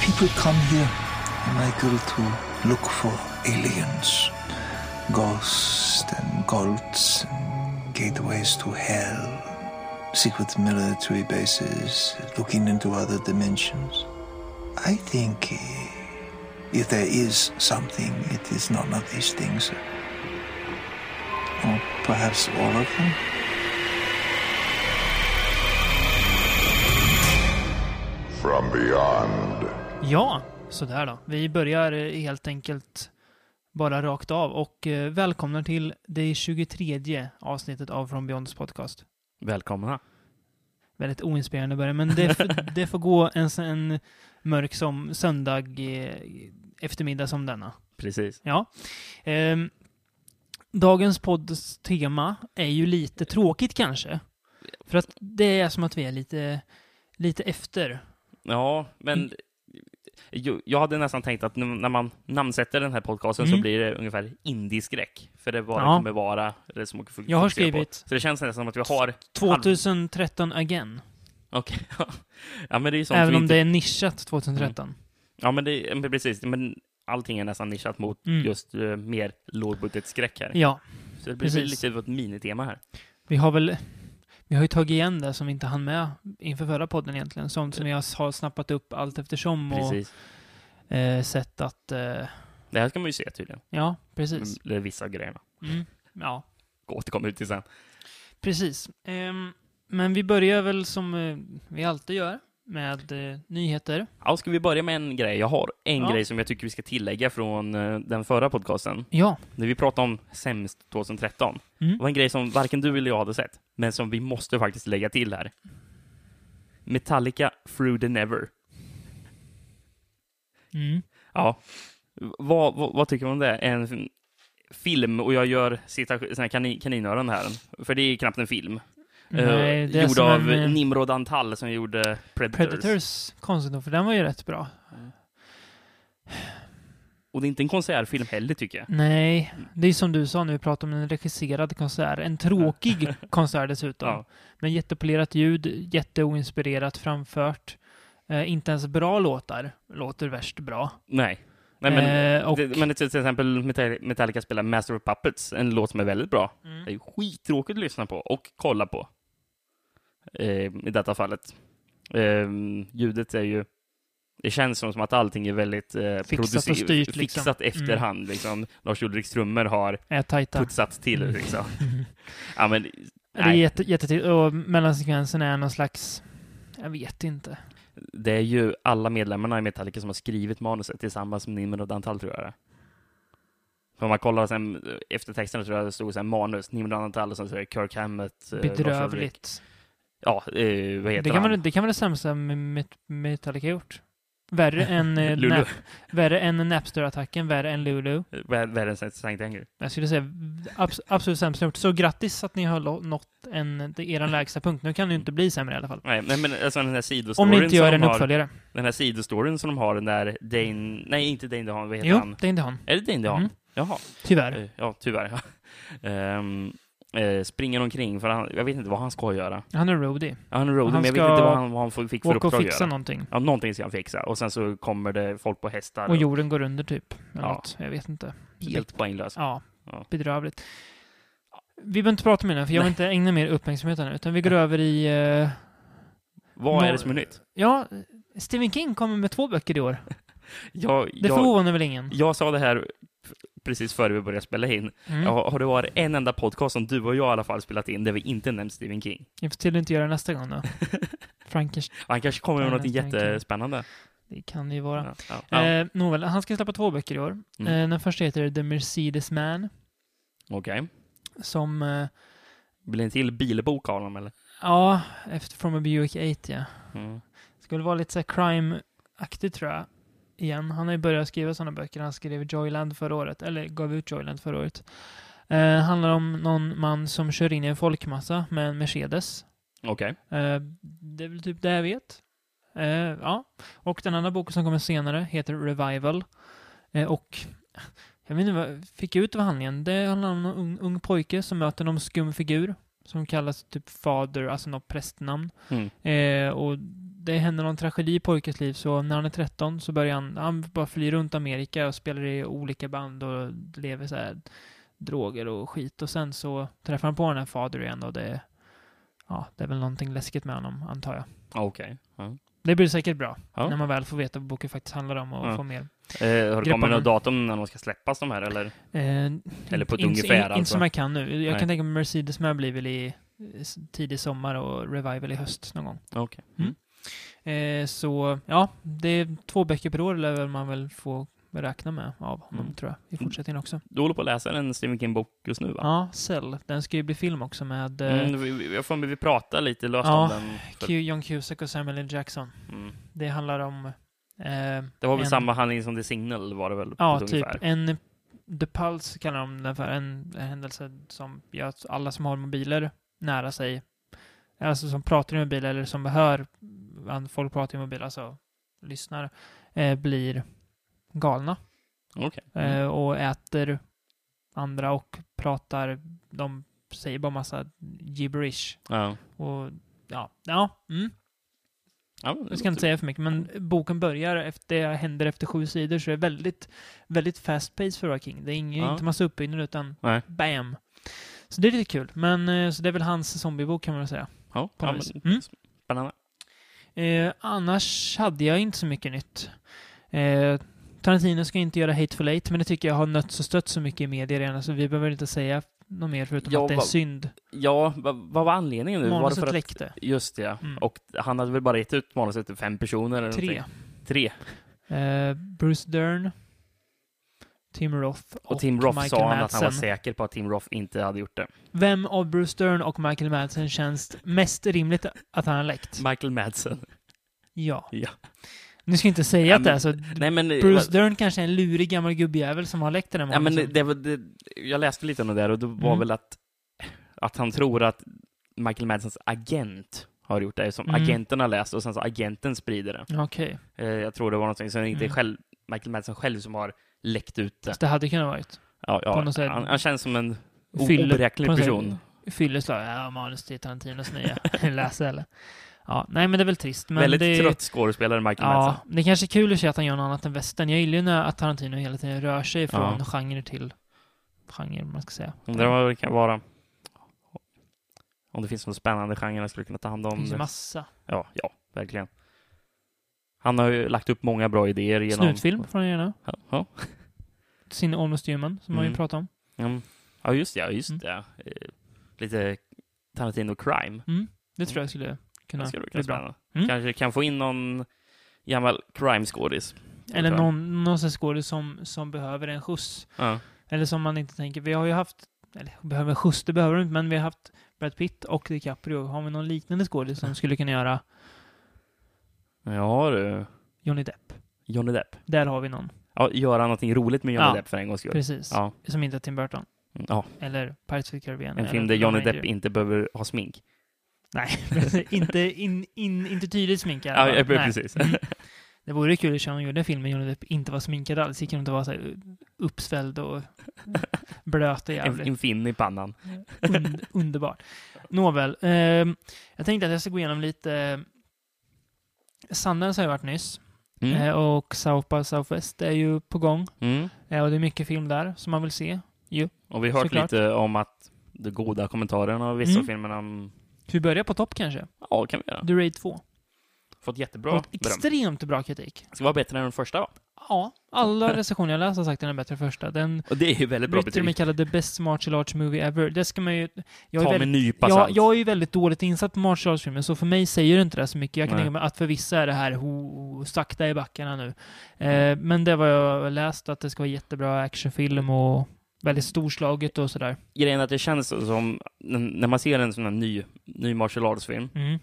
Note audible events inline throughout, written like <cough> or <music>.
people come here, Michael, to look for aliens, ghosts and cults, and gateways to hell, secret military bases, looking into other dimensions. I think eh, if there is something, it is none of these things. Or perhaps all of them. From beyond. Ja, sådär då. Vi börjar eh, helt enkelt bara rakt av och eh, välkomna till det 23 avsnittet av Från Beyonds podcast. Välkomna. Väldigt oinspirerande början, men det, <laughs> får- det får gå en, s- en mörk som söndag eh, eftermiddag som denna. Precis. Ja. Ehm, dagens podds tema är ju lite tråkigt kanske. För att det är som att vi är lite, lite efter. Ja, men jo, jag hade nästan tänkt att n- när man namnsätter den här podcasten Mm. så blir det ungefär indieskräck. För det bara Ja. kommer vara det som folk Jag har fokuserar skrivit På. Så det känns nästan som att vi har... 2013 again. Okej. <laughs> ja, men det är ju sånt Även vi om inte... Mm, det är nischat 2013. Ja, men det... men Precis. Men allting är nästan nischat mot Mm. just eh, mer lågbudgetskräck här. Ja, Så det blir precis. lite av ett minitema här. vi har väl... Vi har ju tagit igen det som vi inte hann med inför förra podden egentligen. Sånt som vi har har snappat upp allt eftersom och Precis. eh, sett att... Eh, Det här ska man ju se tydligen. ja, precis. Det är vissa av grejerna. Mm. Ja, Återkommer ut till sen. Precis. Ehm, men vi börjar väl som eh, vi alltid gör med eh, nyheter. Ja, ska vi börja med en grej? Jag har en Ja. grej som jag tycker vi ska tillägga från eh, den förra podcasten. Ja. När vi pratade om sämst 2013. Mm. Det var en grej som varken du eller jag hade sett, men som vi måste faktiskt lägga till här. Metallica Through the Never. Mm. Ja. Vad, vad, vad tycker man om det? En f- film, och jag gör cita- såna här kanin, kaninöron här, för det är knappt en film. Nej, Eh, det är gjord som av en, eh, Nimrod Antal som gjorde Predators. Predators, konstigt nog, för den var ju rätt bra. Och det är inte en konsertfilm heller, tycker jag. Nej, det är som du sa när vi pratade om en regisserad konsert. En <laughs> tråkig konsert dessutom. Ja. Men jättepolerat ljud, jätteoinspirerat framfört. Eh, inte ens bra låtar låter värst bra. Nej. Nej, men... eh, och, Det, men till till exempel Metall- Metallica spelar Master of Puppets, en låt som är väldigt bra. Mm, Det är ju skittråkigt att lyssna på och kolla på. Eh, I detta fallet. Eh, ljudet är ju... Det känns som som att allting är väldigt eh, producer- och styrt, liksom. fixat Mm. efterhand. Liksom. Lars Ulriks trummor har är tajta. putsats till. Mm. <laughs> Liksom. ja, men, Det är nej. jätte, jättetid- och mellansekvensen är någon slags... Jag vet inte. Det är ju alla medlemmarna i Metallica som har skrivit manuset tillsammans med Nimrod Antal, tror jag det är. För om man kollar sen eh, efter texterna tror jag det stod så här manus, Nimrod Antal och sen så är det Kirk Hammett. eh, Lars Ulrich. Bedrövligt. Ja, eh, vad Det heter kan, han? vara, det kan vara det sämsta Met- Metallica gjort. <laughs> Värre än, eh, Lulu. Nap- värre än Napster-attacken, värre än Lulu. Vär- Världens sämsta Sankt Anger. Jag skulle säga abs- absolut sämsta gjort. Så grattis att ni har lo- nått en, det- er lägsta punkt. Nu kan det ju inte bli sämre i alla fall. Nej, nej, men alltså den här Om sidostoryn ni inte som gör de en har- uppföljare. Den här sidostoryn som de har, den där Dane... Nej, inte Dane DeHaan, vad heter Jo, han? det är inte han. Är det Dane DeHaan? Mm. Jaha. Tyvärr. Eh, Ja, <laughs> tyvärr. ja. Ehm, eh, springer omkring, för han, jag vet inte vad han ska göra. Han är roadie. Han är roadie, Han men jag ska vet inte vad han, vad han får- fick för Åka och uppdrag att fixa göra. någonting. Ja, någonting ska han fixa. Och sen så kommer det folk på hästar. Och jorden går under typ. Eller Ja. något. Jag vet inte. Helt poänglös. Ja, Ja. bedrövligt. Vi behöver inte prata mer nu, för jag vill inte ägna mer uppmärksamhet här nu, utan vi går över i... eh, Vad är Nå- det som är nytt? ja, Stephen King kommer med två böcker i år. Jag, Det jag, förvånar väl ingen? jag sa det här f- precis före vi började spela in. Mm. Ja, har det varit en enda podcast som du och jag i alla fall spelat in där vi inte nämnt Stephen King? <laughs> Jag får till inte göra det nästa gång då. Frankers, Han kanske kommer med Nej, något nästan inte. jättespännande. det kan det ju vara. Ja, ja, ja. Eh, Nåväl, han ska släppa två böcker i år. Mm. Eh, den första heter The Mercedes Man, Okej. som... Eh, Blir det en till bilbok av honom eller? ja, efter From a Buick 8, ja. Mm. Skulle vara lite så här crime-aktig tror jag. Igen. Han har ju börjat skriva sådana böcker. Han skrev Joyland förra året, eller gav ut Joyland förra året. Eh, handlar om någon man som kör in i en folkmassa med en Mercedes. Okej. Eh, det är väl typ det jag vet. Eh, ja. Och den andra boken som kommer senare heter Revival. Eh, och jag vet inte vad jag fick ut av handlingen. Det handlar om en ung, ung pojke som möter någon skum figur som kallas typ fader, alltså något prästnamn. Mm. Eh, och det händer någon tragedi i pojkens liv, så när han är 13 så börjar han, han bara flyr runt Amerika och spelar i olika band och lever så här droger och skit. Och sen så träffar han på den här fader igen och det, ja, det är väl någonting läskigt med honom, antar jag. Okej. Ja. Det blir säkert bra, Ja. när man väl får veta vad boken faktiskt handlar om och Ja. får mer Eh, har det Greppa kommit något den. datum när de ska släppas de här eller? Eh, Eller på ett inte- ungefär, Inte alltså. som jag kan nu. Jag Nej. kan tänka mig Mercedes med blir väl i eh, s- tidig sommar och Revival i höst någon gång. Okej. Mm. Eh, så ja, det är två böcker per år lär man väl få räkna med av honom Mm. tror jag i fortsättningen också. Du håller på att läsa en Stephen King-bok just nu va? Ja, Cell. Den ska ju bli film också med eh, Mm, vi- vi- jag får vi pratar lite löst Ja, om den. För, Q, John Cusack och Samuel L. Jackson. mm. Det handlar om... Eh, Det var väl en- samma handling som The Signal var det väl? på Ja, ett typ ungefär. en... The Pulse kallar de den för. En, en händelse som gör att alla som har mobiler nära sig, alltså som pratar i mobil eller som hör an- folk prata i mobil, alltså lyssnar, eh, blir galna Okej. Mm. eh, och äter andra och pratar, de säger bara massa gibberish. Ja. Och ja, ja mm. Ja, det Jag ska inte låter- säga för mycket, men boken börjar efter, det händer efter sju sidor, så det är väldigt, väldigt fast pace för att vara King. Det är ingen, Ja. inte massa uppbyggnad, utan Nej. bam! Så det är lite kul. Men eh, så det är väl hans zombiebok kan man väl säga. Ja, På ja, något vis. men, Mm. Spännande. Eh, annars hade jag inte så mycket nytt. Eh, Tarantino ska inte göra Hateful Eight, men det tycker jag har nötts och stött så mycket i media redan, så vi behöver inte säga något mer förutom Ja, att det är vad- synd. Ja, vad, vad var anledningen nu? Var det Manuset för att... läckte. Just det, ja. Mm. Och han hade väl bara gett ut manuset till fem personer? Eller Tre. någonting. Tre. Eh, Bruce Dern, Tim Roth och, Och, Tim Roth Michael sa han att han var Madsen. säker på att Tim Roth inte hade gjort det. Vem av Bruce Dern och Michael Madsen känns mest rimligt att han har läckt? Michael Madsen. Ja. Ja. Nu ska jag inte säga Ja, att det är men- så. Nej men... Bruce Dern kanske är en lurig gammal gubbjävel som har läckt den här Ja, men manusen. det var, det, jag läste lite om det där och det var liksom. Mm. väl att, att han tror att Michael Madsens agent har gjort det, som Mm. agenten har läst och sen så agenten sprider det. Okej, Eh, jag tror det var någonting som inte är Mm. själv, Michael Madsen själv som har läckt ut det. så det hade kunnat varit. Ja, ja, på något sätt- han, han känns som en o- Fylle- oberäknelig på något sätt- person. Fylleslag. Ja, manus till Tarantinos nya. <laughs> Läs eller. Ja, nej men det är väl trist. Men Väldigt det... trött skådespelare, Michael Ja, Madsen. det är kanske är kul att se att han gör något annat än västern. Jag gillar ju när att Tarantino hela tiden rör sig från Ja. genre till genre, om man ska säga. Undrar vad det kan vara. Om det finns någon spännande genre jag skulle kunna ta hand Det om. finns ju massa. Ja, ja, verkligen. Han har ju lagt upp många bra idéer genom... Snutfilm får han gärna. Ja, ja. Sin Almost Human, som man ju Mm. pratade om. Mm. Ja, just det. Ja, just Mm. det. Eh, Lite Tarantino crime. Det tror jag skulle kunna Det skulle bli kunna bra. spännande. Mm. Kanske kan få in någon gammal crime-skådis. Eller tror jag. någon, någon sån skådis som, som behöver en skjuts. Ja. Eller som man inte tänker, vi har ju haft, eller behöver en skjuts, det behöver de inte, men vi har haft Brad Pitt och DiCaprio. Har vi någon liknande skådis <laughs> som skulle kunna göra ja, du. Johnny Depp? Johnny Depp. Där har vi någon, Ja, göra någonting roligt med Johnny Ja, Depp för en gångs skull. precis. Ja. Som inte är Tim Burton. Mm, ja, Eller Pirates of the Caribbean. en eller film där Johnny Lone Depp Ranger. inte behöver ha smink. Nej, <laughs> inte, in, in, inte tydligt sminkad. Ja, ja, Nej. precis. <laughs> Mm. Det vore kul om han gjorde en film med Johnny Depp inte var sminkad alls. Gick han inte vara så här uppsvälld <laughs> och blöt och En, jävligt. en film i pannan. Mm. Und, <laughs> underbart. Nåväl, ehm, jag tänkte att jag ska gå igenom lite... Sundance har ju varit nyss Mm. eh, och South by Southwest är ju på gång. Mm. Eh, och det är mycket film där som man vill se. Och vi har hört Såklart. lite om att de goda kommentarerna av vissa Mm. av filmerna. mm, Ska vi börjar på topp kanske? Ja, kan vi göra. The Raid 2. Fått jättebra Fått beröm. extremt bra kritik. Ska vara bättre än den första, va? Ja, <laughs> alla recensioner jag läst har sagt att den är bättre än första. Den Och det är ju väldigt bra blir till och med betyg. kallad the best martial arts movie ever. Det ska man ju... Jag Ta är med väldigt, en nypa jag, salt. jag är ju väldigt dåligt insatt på martial arts-filmer, så för mig säger det inte det så mycket. Jag kan Nej. tänka mig att för vissa är det här ho, sakta i backarna nu. Eh, Mm. men det var jag läst, att det ska vara jättebra actionfilm och väldigt storslaget och sådär. grejen är att det känns som, n- när man ser en sån här ny, ny martial arts-film, Mm.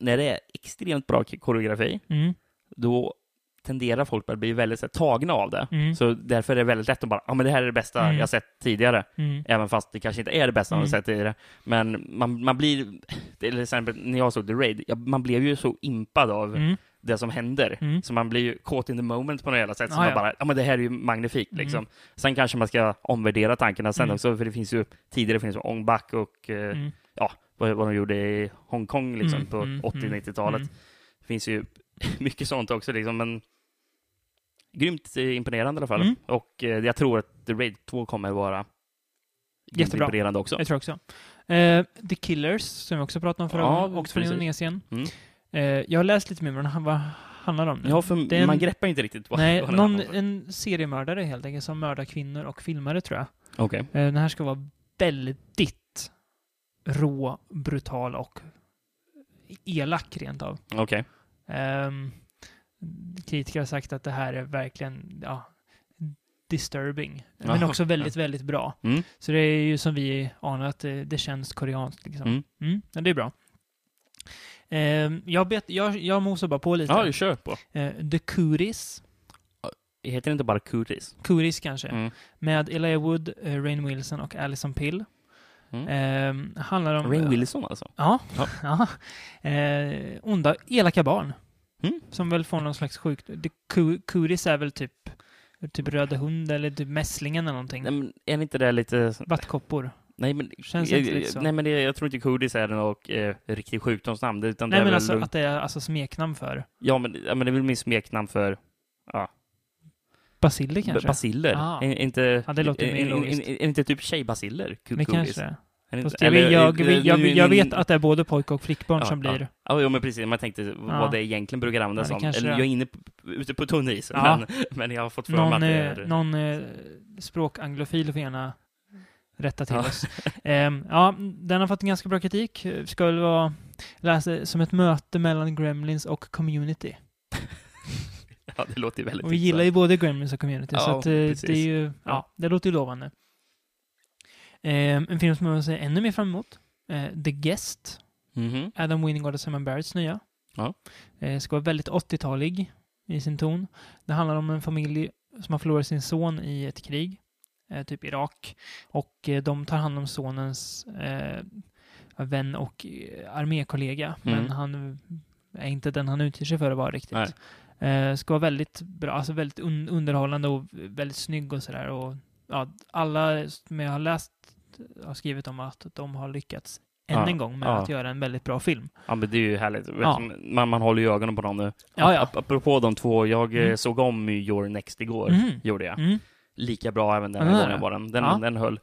när det är extremt bra k- koreografi, Mm. då tenderar folk att bli väldigt så här, tagna av det. Mm. Så därför är det väldigt lätt att bara, ja ah, men det här är det bästa Mm. jag sett tidigare. Mm. Även fast det kanske inte är det bästa man Mm. har sett tidigare. Men man, man blir, till exempel när jag såg The Raid, jag, man blev ju så impad av Mm. det som händer. Mm. Så man blir ju caught in the moment på något jävla sätt. Så Ah, man ja. bara, ja men det här är ju magnifikt Mm. liksom. Sen kanske man ska omvärdera tankarna sen Mm. också, för det finns ju, tidigare finns ju Ong Bak och eh, Mm. ja, vad, vad de gjorde i Hongkong liksom Mm, på mm, 80-90-talet. mm. Det finns ju <laughs> mycket sånt också, liksom, men grymt eh, imponerande i alla fall. Mm. Och eh, jag tror att The Raid 2 kommer vara Jättebra. imponerande också. Jag tror också. Eh, The Killers, som vi också pratade om förra Ja, gången, också från precis. Indonesien. Mm. Eh, jag har läst lite mer om den, vad handlar om nu. Ja, för Den- man greppar inte riktigt vad Nej, <laughs> vad den någon, handlar om. en seriemördare helt enkelt, som mördar kvinnor och filmare tror jag. Okej. Eh, Den här ska vara väldigt rå, brutal och elak rent av. Okej. Ehm, kritiker har sagt att det här är verkligen ja, disturbing, men Jaha, också väldigt, väldigt bra. Mm. Så det är ju som vi anar att det, det känns koreanskt. Liksom. Mm. Mm, men det är bra. Ehm, jag, bet, jag, jag mosar bara på lite. Ja, vi kör på. Eh, The Kuris, Heter det inte bara Kuris? Kuris kanske, Mm. med Elijah Wood, eh, Rainn Wilson och Alison Pill. Mm. Ehm, handlar om... Rain Wilson alltså? Ja. Ja. <laughs> ja. Eh, onda, elaka barn. Mm. Som väl får någon slags sjukdom. Kuris är väl typ, typ röda hund eller typ mässlingen eller någonting. Nej, men är inte det lite... Vattkoppor. Nej, men, Känns jag, inte liksom- lite så. Nej, men det, jag tror inte Kuris är något eh, riktigt sjukdomsnamn. det- Utan det Nej är men väl, alltså att det är alltså smeknamn för ja, men, ja, men det är väl min smeknamn för basiller kanske? basiller. Ah. Är, är inte, Ja, det låter mer är, är, logiskt. är, är inte typ tjejbasiller? Ku- det Kuris? kanske det är. Är det Fast inte- jag, eller- eh, jag, eller- jag, jag, nu- jag nu- vet att det är både pojke och flickbarn Ja, som ja. blir... Ja, jo, men precis. Man tänkte vad det egentligen brukar användas Ja, det som. kanske Eller, det är. jag är inne på, ute på tunn is, Ja. men, men jag har fått för mig att Någon, det eh, är... någon eh, språkanglofil får gärna rätta till Ja. oss. Ehm, ja, den har fått en ganska bra kritik. Ska väl vara läsa, som ett möte mellan Gremlins och Community. <laughs> Ja, det låter ju väldigt Och vi gillar ju både Gremlins och Community, så Ja, att, eh, det, precis. är ju, ja, Ja. det låter ju lovande. Ehm, en film som man ser ännu mer fram emot, eh, The Guest, Mhm. Adam Wingard och Simon Barretts nya. Ja. Eh, ska vara väldigt 80-talig i sin ton. Det handlar om en familj som har förlorat sin son i ett krig, eh, typ Irak. Och eh, de tar hand om sonens eh, vän och eh, armékollega, Mm. men han är inte den han utger sig för att vara riktigt. Eh, ska vara väldigt bra, alltså väldigt un underhållande och väldigt snygg och sådär. Och ja, alla som jag har läst har skrivit om att de har lyckats än Ja, en gång med ja. att göra en väldigt bra film. Ja, men det är ju härligt. Vet Ja. du, Man, man håller ju ögonen på dem nu. Ja, ja. Ap- Apropå de två, jag eh, Mm. såg om Your Next igår. Mhm. Gjorde jag. Mm. Lika bra även den Ja, här det är gången var den. Den, Ja. den höll.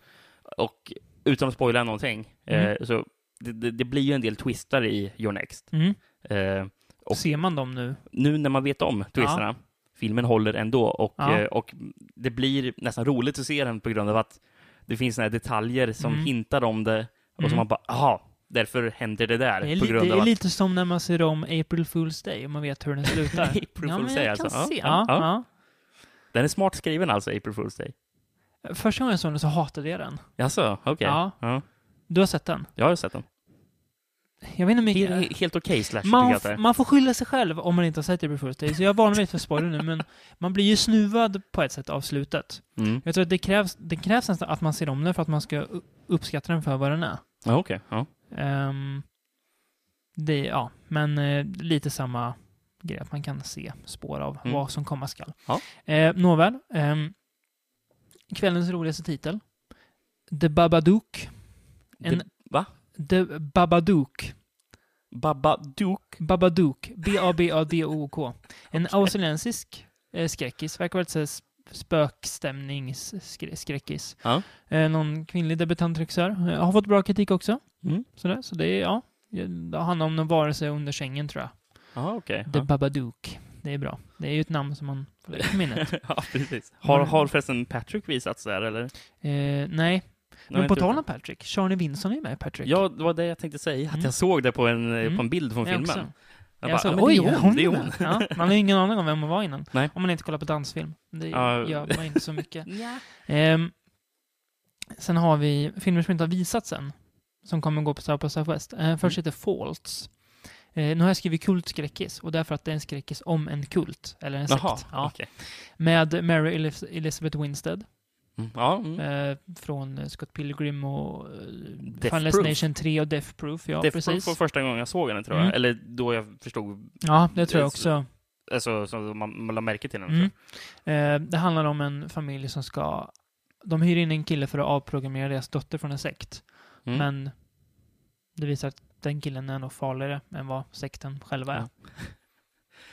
Och utan att spoila någonting, eh, så det, det, det blir ju en del twistar i Your Next. Mm. Eh, Och- Ser man dem nu? nu när man vet om twisterna, filmen håller ändå och, Ja. eh, och det blir nästan roligt att se den på grund av att det finns såna här detaljer som Mm. hintar om det och Mm. som man bara, aha, därför händer det där. Det är, på li- grund det av är att... lite som när man ser om April Fool's Day och man vet hur den slutar. <laughs> <laughs> April ja, men Fool's jag Day kan alltså. Se. Ja, Ja, ja. Den är smart skriven alltså, April Fool's Day. Första gången jag såg den så hatade jag den. Jaså, okej. Ja. Ja. ja. Du har sett den? Jag har sett den. Jag vet inte hur Helt, mycket... helt okej slasher tycker Man, jag att f- det är. man får skylla sig själv om man inte har sett April Fool's Day, så jag varnar mig för spoiler nu, men man blir ju snuvad på ett sätt av slutet. mm. Jag tror att det krävs, det krävs nästan att man ser om den för att man ska u- uppskatta den för vad den är. ja, okej. Ja. Ehm, det, ja, men eh, lite samma grej, att man kan se spår av Mm. vad som komma skall. Ja. Eh, nåväl. ehm, kvällens roligaste titel. The Babadook. En- Det- Va? The Babadook. Babadook? Babadook. <laughs> B-A-B-A-D-O-O-K. En australiensisk eh, skräckis. Verkar vara lite så här sp- spökstämningsskräckis. Ja. Eh, någon kvinnlig debutantrexör. Eh, har fått bra kritik också. Mm. Sådär, så det är, ja. Det handlar om någon varelse under sängen tror jag. Ja, okej. The Ja. Babadook. Det är bra. Det är ju ett namn som man får lägga på minnet. ja, <laughs> precis. Mm. Har, har förresten Patrick visats där, eller? eh, nej, Nej, men på inte- tal om Patrick. Charlie Vinson är ju med i Patrick. Ja, det var det jag tänkte säga. Att Mm. jag såg det på en, eh, Mm. på en bild från Jag filmen. också. Jag Jag bara, sa, ja, men det oj, är hon, det är hon. med. Ja, man har ju ingen aning om vem hon var innan. Nej. Om man inte kollar på dansfilm. Det Ja. gör man inte så mycket. Ehm, sen har vi filmer som inte har visats än. Som kommer gå på South by Southwest. Eh, först Mm. heter Faults. Eh, nu har jag skrivit kultskräckis och därför att det är en skräckis om en kult. Eller en sekt. Jaha, Ja. okej. Med Mary Elis- Elizabeth Winstead. Mm, Ja, mm. Eh, från eh, Scott Pilgrim och eh, Death Final Proof. Destination 3 och Death Proof. Ja, det precis. var första gången jag såg henne, tror jag. Mm. Eller då jag förstod, Ja, det tror jag också. alltså, så man, man la märke till henne. Mm. tror Eh, det handlar om en familj som ska... De hyr in en kille för att avprogrammera deras dotter från en sekt. jag. Mm. Men det visar att den killen är nog farligare än vad sekten själva är.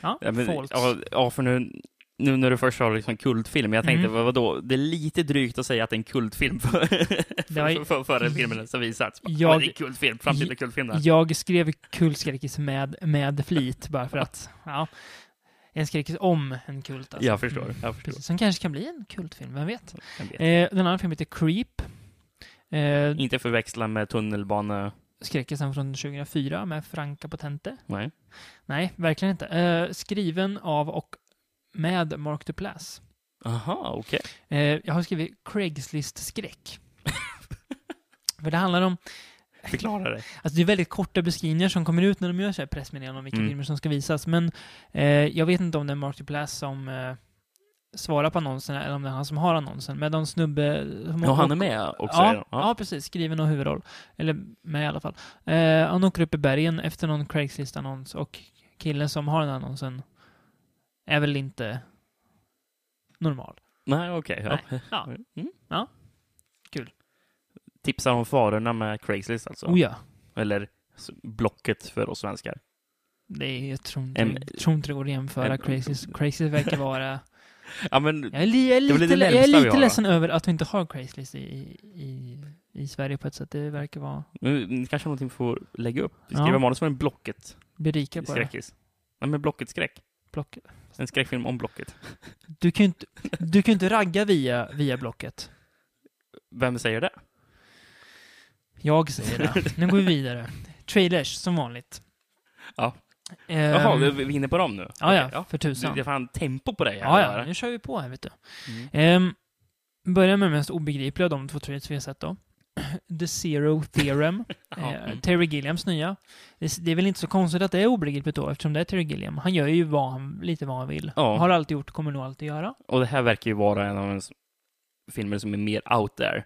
Ja, Ja, men, Folks. ja, ja, för nu, nu när du först sa liksom kultfilm, jag tänkte Mm. vad, vadå, det är lite drygt att säga att det är en kultfilm för, <laughs> Det var ju- för, för, före filmen som visats. Bara, Jag- ja, det är en kultfilm, framtida Jag- kultfilm där. Jag skrev kultskräckis med, med flit bara för att, ja. En skräckis om en kult alltså. Jag förstår, Mm. jag förstår. Precis, som kanske kan bli en kultfilm, vem vet? Jag vet. Eh, den andra filmen heter Creep. Eh, Inte förväxla med tunnelbane... skräckisen från 2004 med Franka Potente. Nej. Nej, verkligen inte. Eh, skriven av och med Mark Duplass. Aha, okej. Eh, jag har skrivit <laughs> Craigslist-skräck. För det handlar om, Förklara det. alltså det är väldigt korta beskrivningar som kommer ut när de gör så här pressmeddelanden om vilka Mm. filmer som ska visas, men eh, jag vet inte om det är Mark Duplass som eh, svarar på annonserna eller om det är han som har annonsen, men de snubbe... som Ja, han är med också? är Ja, det? ja. precis. Skriven och huvudroll. Eller med i alla fall. Eh, han åker upp i bergen efter någon Craigslist-annons och killen som har den här annonsen är väl inte normal. Nej, okej. ja. Nej. Ja. Mm. Ja. Kul. Tipsar om farorna med Craigslist alltså? Oh ja. Eller s- Blocket för oss svenskar. Det är, jag tror inte, En- jag tror inte det går att jämföra en- Craigslist. Craigslist verkar vara... Ja, men Jag är, li, jag är <laughs> Det var lite, det jag är närmsta vi lite har, va? ledsen över att vi inte har Craigslist i, i, i Sverige på ett sätt. Det verkar vara... nu- nu kanske någonting får lägga upp. Vi Ja. skriver manus för en Blocket Bli rika på det. skräckis. Nej, men Blocket skräck. Block. En skräckfilm om Blocket. Du kan ju inte, du kan ju inte ragga via, via Blocket. Vem säger det? Jag säger <laughs> det. Nu går vi vidare. Trailers, som vanligt. Ja. Ehm, Jaha, vi vi är inne på dem nu? Ja, ja, Okej, för Det, tusan. det är fan tempo på dig ja, här. ja, eller? nu kör vi på här, vet du. Mm. Ehm, börjar med mest obegripliga av de två trailers vi har sett då. <clears throat> The Zero Theorem. <laughs> Ja, eh, mm. Terry Gilliams nya. Det, s- det är väl inte så konstigt att det är obegripligt då, eftersom det är Terry Gilliam. Han gör ju vad han, lite vad han vill. Ja. Har alltid gjort, kommer nog alltid göra. Och det här verkar ju vara en av ens filmer som är mer out there.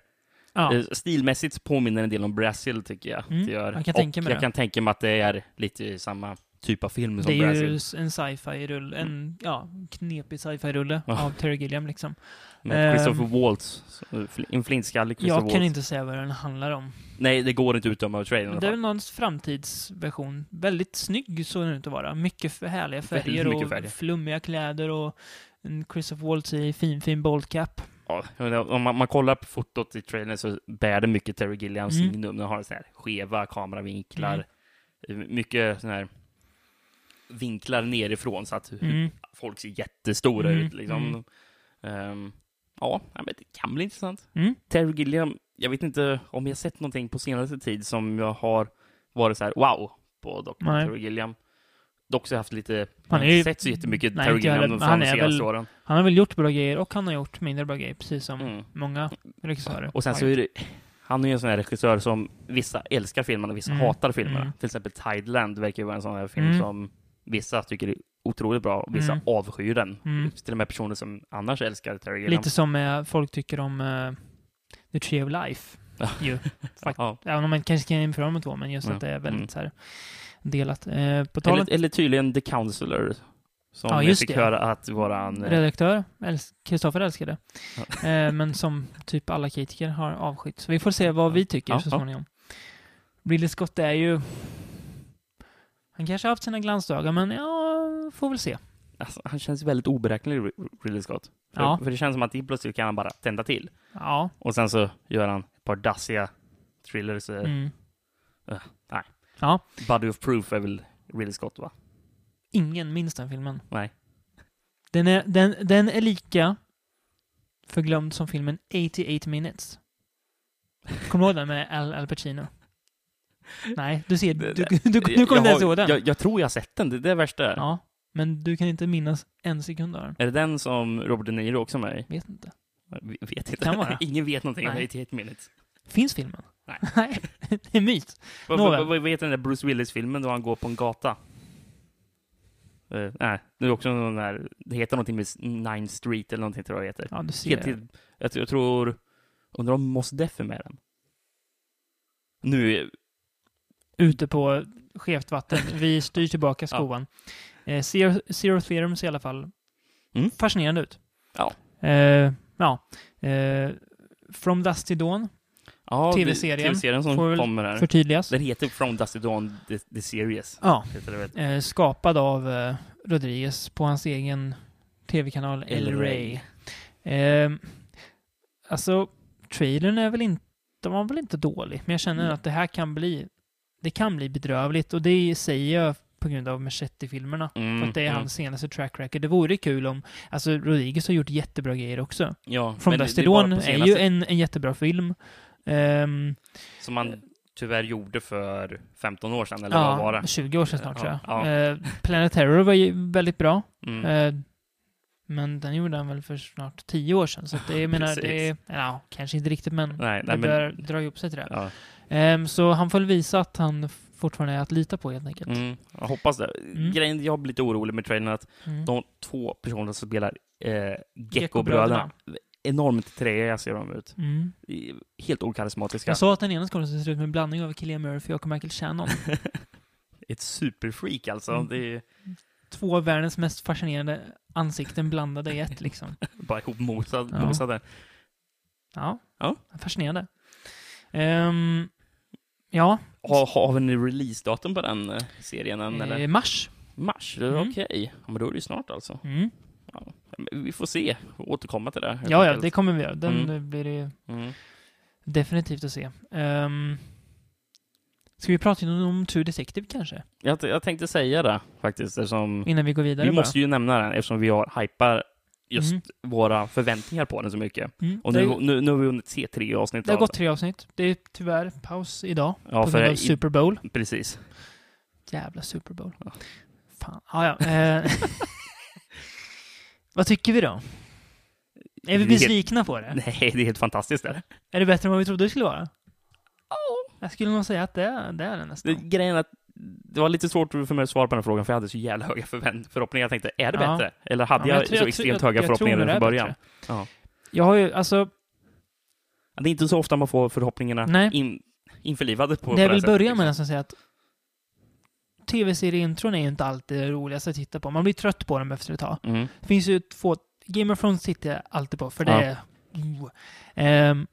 Ja. Eh, Stilmässigt så påminner en del om Brazil, tycker jag. Mm, det gör. jag kan Och tänka mig jag det. kan tänka mig att det är lite samma typ av film som Det är ju Brazil. s- en sci-fi-rulle, en ja, knepig sci-fi-rulle Ja. av Terry Gilliam liksom. Med Christopher ehm, Waltz. eh, En flintskallig Christopher Jag kan Waltz. inte säga vad den handlar om. Nej, det går inte att utdöma av trailern. i alla Det är fall. väl någons framtidsversion. Väldigt snygg såg den ut att vara. Mycket f- härliga färger Väldigt mycket och färger. flummiga kläder och en Christopher Waltz i fin, fin boldcap. Ja, jag menar, om man, man kollar på fotot i trailern så bär det mycket Terry Gilliams Mm. signum. Den har så här skeva kameravinklar. Mm. Eh, Mycket sån här vinklar nerifrån så att hu- Mm. folk ser jättestora Mm, ut. Liksom. mm. Ehm, ja, ja, men det kan bli intressant. Mm. Terry Gilliam, jag vet inte om jag sett någonting på senaste tid som jag har varit så här wow på dock Nej. Terry Gilliam. Dock så har jag haft lite, jag Han har är ju- inte sett så jättemycket Nej, Terry inte jag Gilliam heller, men från han de är senaste väl- åren. Han har väl gjort bra grejer och han har gjort mindre bra grejer, precis som Mm. många regissörer. Och sen så är det, han är ju en sån här regissör som vissa älskar filmerna och vissa Mm, hatar filmerna. mm. Till exempel Tideland verkar ju vara en sån här film Mm. som vissa tycker är otroligt bra och vissa Mm. avskyr den. Mm. Till och med personer som annars älskar Terry Gilliam. Lite som eh, folk tycker om eh, The Tree of Life. ju. ja. Även om man kanske kan jämföra de två, men just Mm. att det är väldigt Mm. så här delat. Eh, på tal om eller, eller tydligen The Counselor. Som Ja, jag just fick det. höra att våran... eh, redaktör, Äls- Kristoffer älskade. <laughs> Eh, men som typ alla kritiker har avskytt. Så vi får se vad vi tycker Ja, så ja. småningom. Ridley Scott är ju... Han kanske har haft sina glansdagar, men ja, får väl se. Alltså, han känns väldigt oberäknelig, Ridley Scott. För, Ja. för det känns som att plötsligt kan han bara tända till. Ja. Och sen så gör han ett par dassiga thrillers. eh, Mm. Body of Proof är väl Ridley Scott, va? Ingen minns den filmen. Nej. Den är, den, den är lika förglömd som filmen 88 minutes. Kommer du ihåg den med Al, Al Pacino? Nej, du ser, du, Det- du, det- du, du kommer Jag inte ens har- ihåg den. Jag, jag tror jag har sett den, det, det är värst där. Ja, men du kan inte minnas en sekund av den. Är det den som Robert De Niro också är med i? Vet inte. Jag vet Kan inte. vara. <laughs> Ingen vet någonting om Nej. 88 minutes. Finns filmen? <laughs> Nej. det är myt. Vad, Nåväl. vad, vad heter den där Bruce Willis-filmen då han går på en gata? Eh, nej, det är också någon där, det heter någonting med Nine Street eller någonting tror jag det heter. Ja, du ser. Helt, helt, jag, tror- jag tror, undrar om Mos Def är med den? Nu, Ute på skevt <laughs> vatten. Vi styr tillbaka Ja. skoan. Eh, Zero, Zero Theorems i alla fall. Mm. Fascinerande ut. Ja. Eh, ja. Eh, From Dust till Dawn ja, TV-serien. TV-serien som Får väl kommer här. förtydligas. Den heter From Dusty Dawn The, the Series. Ja. Heter det väl? Eh, skapad av eh, Rodriguez på hans egen tv-kanal El El Rey. Rey. Eh, alltså, trailern är väl inte, den var väl inte dålig, men jag känner Nej. att det här kan bli, det kan bli bedrövligt och det säger jag på grund av Machete-filmerna. Mm, För att det är mm. hans senaste track record. Det vore kul om, alltså Rodriguez har gjort jättebra grejer också. Ja, From men det- Dust det Till är bara Dawn på är senaste- ju en, en jättebra film. Ehm, Som man tyvärr gjorde för 15 år sedan, eller vad var ja, det? 20 år sedan snart tror jag. Ja, Eh, Planet Terror var ju väldigt bra. Mm. Eh, men den gjorde han väl för snart 10 år sedan. Så att det, jag menar, det är, Precis. ja, kanske inte riktigt men Nej, det nej, men, börjar dra ihop sig till det. ja. Ehm, så han får väl visa att han f- fortfarande är att lita på helt enkelt. mm, jag hoppas det. Grejen jag blir lite orolig med trailern är att Mm. de två personerna som spelar eh, Gecko-bröderna, enormt träiga ser de ut. Mm. I- Helt okarismatiska. Jag sa att den ena skådespelaren ser ut med en blandning av Cillian Murphy och Michael Shannon. <laughs> Ett superfreak alltså. Mm. Det är Två av världens mest fascinerande ansikten blandade i ett liksom. bara ihopmosade. Ja. mosade. Ja, <laughs> Ja. fascinerande. Ehm, ja, Har, har vi nu releasedatum på den eh, serien än, eller? eh, mars. Mars? Mm. Okej. Ja, men då är det ju snart alltså. Mm. Men Vi får se. Återkomma till det. helt Ja, ja, enkelt. det kommer vi göra. Den Mm. eh, blir det ju Mm. definitivt att se. Um, ska vi prata om, om Two Detective kanske? Jag, t- jag tänkte säga det faktiskt eftersom Innan vi går vidare vi måste ju nämna den eftersom vi har hypar just Mm. våra förväntningar på den så mycket. bara. Mm. Och det, nu, nu, nu har vi hunnit se tre avsnitt det har av gått tre avsnitt. Det är tyvärr paus idag. Ja, på för grund av i- Super Bowl. den. Precis. Jävla Super Bowl. Ja. Fan. Ah, ja. eh, <laughs> vad tycker vi då? Är vi helt- besvikna på det? <laughs> Nej, det är helt fantastiskt det. Är det bättre än vad vi trodde det skulle vara? Jag skulle nog säga att det är det, är det nästan. det grejen är att det var lite svårt för mig att svara på den frågan för jag hade så jävla höga förvänt- förhoppningar. Jag tänkte, är det Ja. bättre? Eller hade men jag, jag tror- så jag extremt tror- jag- höga jag tror förhoppningar nog det redan är från början? bättre. Ja. Jag har ju, alltså, Det är inte så ofta man får förhoppningarna Nej. in, införlivade på det jag på vill sättet, börja med liksom. nästan säga att tv-serieintron är ju inte alltid det roligaste att titta på. Man blir trött på dem efter ett tag. Mm. Det finns ju två... Game of Thrones tittar jag alltid på, för det Ja. är... Oh. Ehm,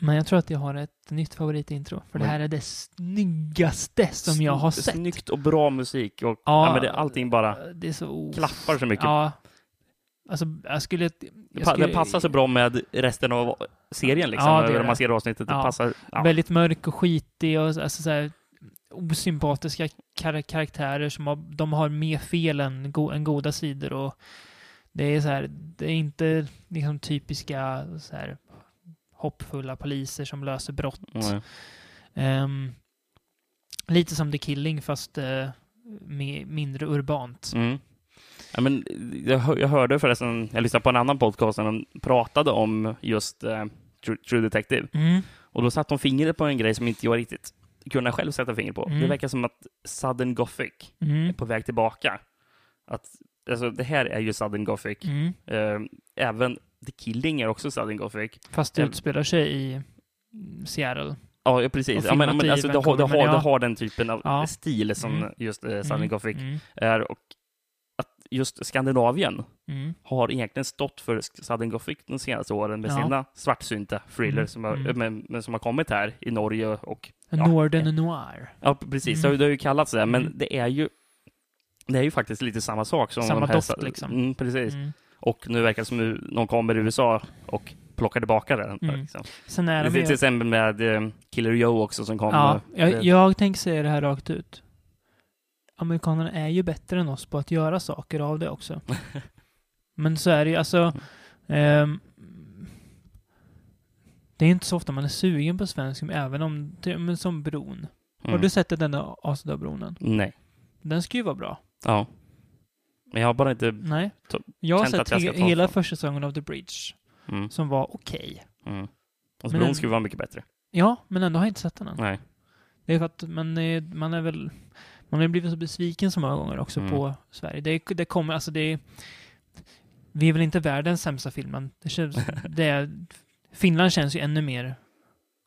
men jag tror att jag har ett nytt favoritintro, för det Oj. här är det snyggaste som jag har Sny- sett. Snyggt och bra musik och Ja. ja, men det, allting bara Det är så... klaffar så mycket. Ja. Alltså, jag skulle... Det Jag pa- skulle Den passar så bra med resten av serien liksom. Ja, det gör när det. man ser avsnittet. Ja. Det passar. Ja. Väldigt mörk och skitig och alltså, så här, osympatiska kar- karaktärer som har, de har mer fel än, go- än goda sidor. Och det är så här, det är inte liksom typiska så här, hoppfulla poliser som löser brott. Mm. Ehm, lite som The Killing fast eh, med, mindre urbant. Mm. Ja, men jag, hör- jag hörde förresten, jag lyssnade på en annan podcast när de pratade om just eh, True, True Detective. Mm. Och då satte de fingret på en grej som inte jag riktigt kunde själv sätta fingret på. Mm. Det verkar som att sudden gothic är Mm. på väg tillbaka. Att, alltså, det här är ju sudden gothic. Mm. Eh, även The Killing är också sudden gothic. Fast det Ehm. utspelar sig i Seattle. Ja, ja, Och precis. Ja, filmat men, men, i alltså, det, har, Vancouver, det, men har, ja. det har den typen av Ja. stil som Mm. just eh, sudden Mm. gothic Mm. är. Och att just Skandinavien Mm. har egentligen stått för sudden gothic de senaste åren med Ja. sina svartsynta thrillers Mm, som, har, mm. men, men som har kommit här i Norge och... Ja. Northern Noir. Ja, precis. Mm. Det, har, ju- det har ju kallats det, men det är ju... Det är ju faktiskt lite samma sak som... Samma de här, doft, sa- liksom. Mm, precis. Mm. Och nu verkar det som nu någon kommer i USA och plockar tillbaka den. Mm. Liksom. Sen är Det de finns ju- till exempel med eh, Killer Joe också som kom. Ja, eh, jag, det- jag tänker säga det här rakt ut. Amerikanerna är ju bättre än oss på att göra saker av det <laughs> också. Men så är det ju, alltså... ehm, det är inte så ofta man är sugen på svensk, film, även om... Men som Bron. Har Mm. du sett den där Asadöbronen? Nej. Den ska ju vara bra. Ja. Men jag har bara inte... Nej. Så- Jag har känt sett att jag ska he- ta hela den. första säsongen av The Bridge, Mm, som var okej. mm. Och Men bron den- skulle vara mycket bättre. Ja, men ändå har jag inte sett den än. Nej. Det är för att man är, man är väl... Man har blivit så besviken så många gånger också Mm. på Sverige. Det, det kommer, alltså det... är- Vi är väl inte världens sämsta filmen. Det <laughs> känns, det är, Finland känns ju ännu mer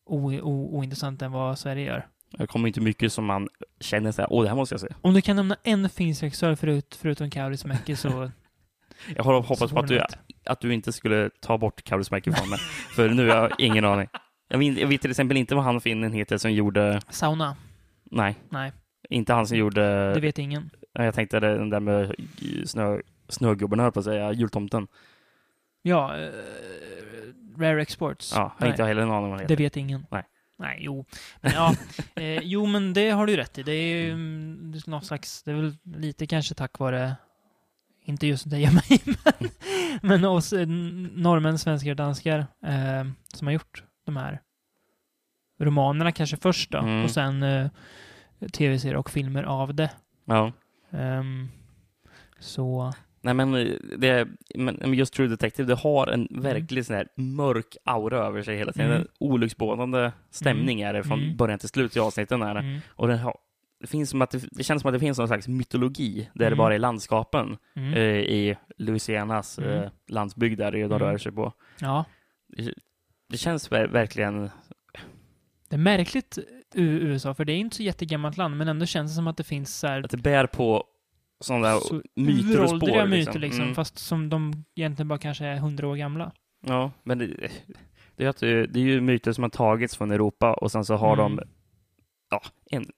o, o, ointressant än vad Sverige gör. Det kommer inte mycket som man känner så här, åh, det här måste jag se. Om du kan nämna en finsk regissör förut, förutom Kaurismäki så... <laughs> Jag har så hoppats på vore att det du, något. att du inte skulle ta bort Kaurismäki <laughs> från mig. För nu har jag ingen aning. Jag vet, jag vet till exempel inte vad han finnen heter som gjorde... Sauna. Nej. Nej. Inte han som gjorde... Det vet ingen. Ja, Jag tänkte det- den där med eh, snö, snögubben, höll på att säga, jultomten. Ja, eh, Rare Exports. Ja, jag har Nej, inte heller en aning vad det det heter. vet ingen. Nej. Nej, jo. Men, ja. <laughs> eh, jo, men det har du rätt i. Det är ju mm, det är någon slags, det är väl lite kanske tack vare, inte just dig <laughs> och mig, men, men oss eh, n- norrmän, svenskar och danskar eh, som har gjort de här romanerna kanske först då, Mm. och sen eh, tv-serier och filmer av det. Ja. Ehm, så, Nej, men, eh, det, men men just True Detective, det har en verklig sån här mörk aura över sig hela tiden. Mm. En olycksbådande stämning är det från Mm. början till slut i avsnitten. Här. mm, Och den har, det, finns som att det, det känns som att det finns någon slags mytologi där Mm. det bara är landskapen mm, eh, i Louisianas Mm. eh, landsbygd där de Mm. rör sig på. ja. Det känns ver- verkligen... Det är märkligt eh, i USA, för det är inte så jättegammalt land, men ändå känns det som att det finns så här Att det bär på sådana där så myter och uråldriga spår. myter liksom, Mm. fast som de egentligen bara kanske är hundra år gamla. Ja, men det, det, är att, det det är ju myter som har tagits från Europa och sen så har de Mm. ja, en, bli-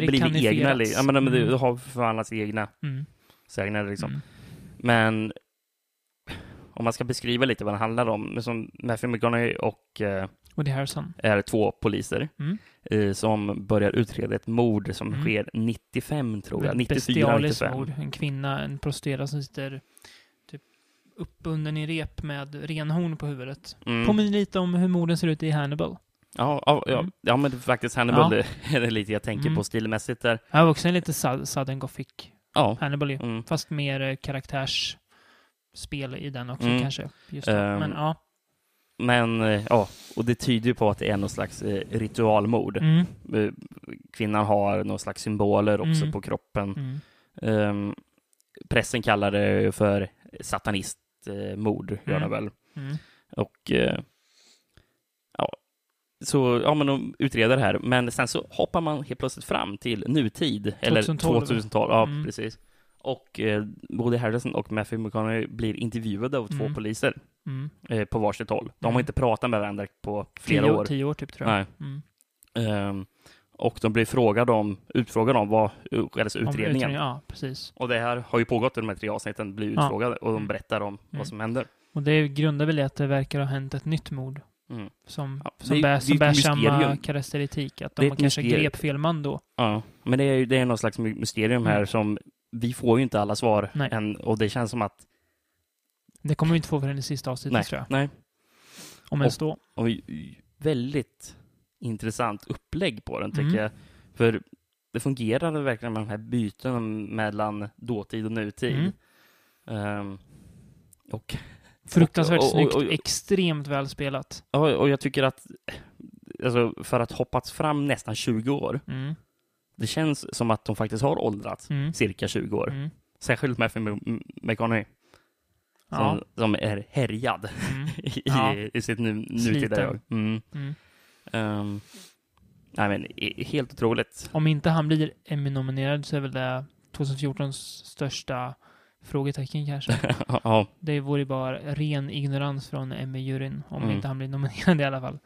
blivit egna. li- Amerikanifierats. Ja, men de, Mm, de har förvandlats till egna mm, sägner liksom. mm. Men om man ska beskriva lite vad den handlar om. men Som Matthew McConaughey och eh, Woody Harrelson. är två poliser Mm. eh, som börjar utreda ett mord som Mm. sker 95 tror jag. Ett 94, bestialiskt 95. mord. En kvinna, en prostituerad som sitter typ uppbunden i rep med renhorn på huvudet. Mm. Påminner lite om hur morden ser ut i Hannibal. Ja, ja, ja, Mm. ja, men det är faktiskt Hannibal Ja. <laughs> det är lite jag tänker Mm. på stilmässigt där. Jag har också en lite sud- sudden gothic Ja. Hannibal ju. Mm. Fast mer eh, karaktärsspel i den också Mm. kanske. Just det. Ehm, Men ja. Men eh, ja, och det tyder ju på att det är någon slags eh, ritualmord. Mm. Eh, Kvinnan har någon slags symboler också Mm. på kroppen. Mm. Ehm, pressen kallar det för satanistmord, gör Mm. de väl. Mm. Och eh, ja, så ja, men de utreder det här. Men sen så hoppar man helt plötsligt fram till nutid, eller 2012. 2012. Ja, Mm. precis. Och eh, Woody Harrelson och Matthew McConaughey blir intervjuade av två Mm. poliser Mm. eh, på varsitt håll. De har Mm. inte pratat med varandra på flera Tio, år. tio år typ tror jag. Nej. Mm. Ehm, och de blir frågade om, utfrågade om vad själva Om utredningen. Ja, precis. Och det här har ju pågått i de här tre avsnitten, blir Ja. utfrågade och de Mm. berättar om vad som händer. Och det grundar väl i att det verkar ha hänt ett nytt mord Mm. som, Ja, det är som ju- det bär, är ju som ett bär mysterium. samma karaktäristik. Att Det de är ett kanske mysterium. grep fel man då. Ja. Men det är ju det är någon slags my- mysterium här Mm. som vi får ju inte alla svar Nej. än och det känns som att Det kommer vi inte få förrän i sista avsnittet nej, tror jag. nej. Om ens då. Och ju- väldigt intressant upplägg på den tycker Mm. jag. För det fungerar verkligen med de här byten mellan dåtid och nutid. Mm. Ehm, och, Fruktansvärt och- och- snyggt. och- Extremt välspelat. ja, och jag tycker att alltså, för att hoppats fram nästan 20 år, Mm. det känns som att de faktiskt har åldrats Mm. cirka 20 år. Mm. Särskilt med Matthew M- M- McConaughey. Som, Ja. som är härjad Mm. i, Ja. i sitt nu, Sliten. nutida jag. Mm. Mm. Ehm, nej men, i- helt otroligt. <laughs> Om inte han blir Emmy-nominerad så är väl det 2014s största frågetecken <laughs> kanske. ja, Det vore ju bara ren ignorans från Emmy-juryn om Mm. inte han blir nominerad i alla fall.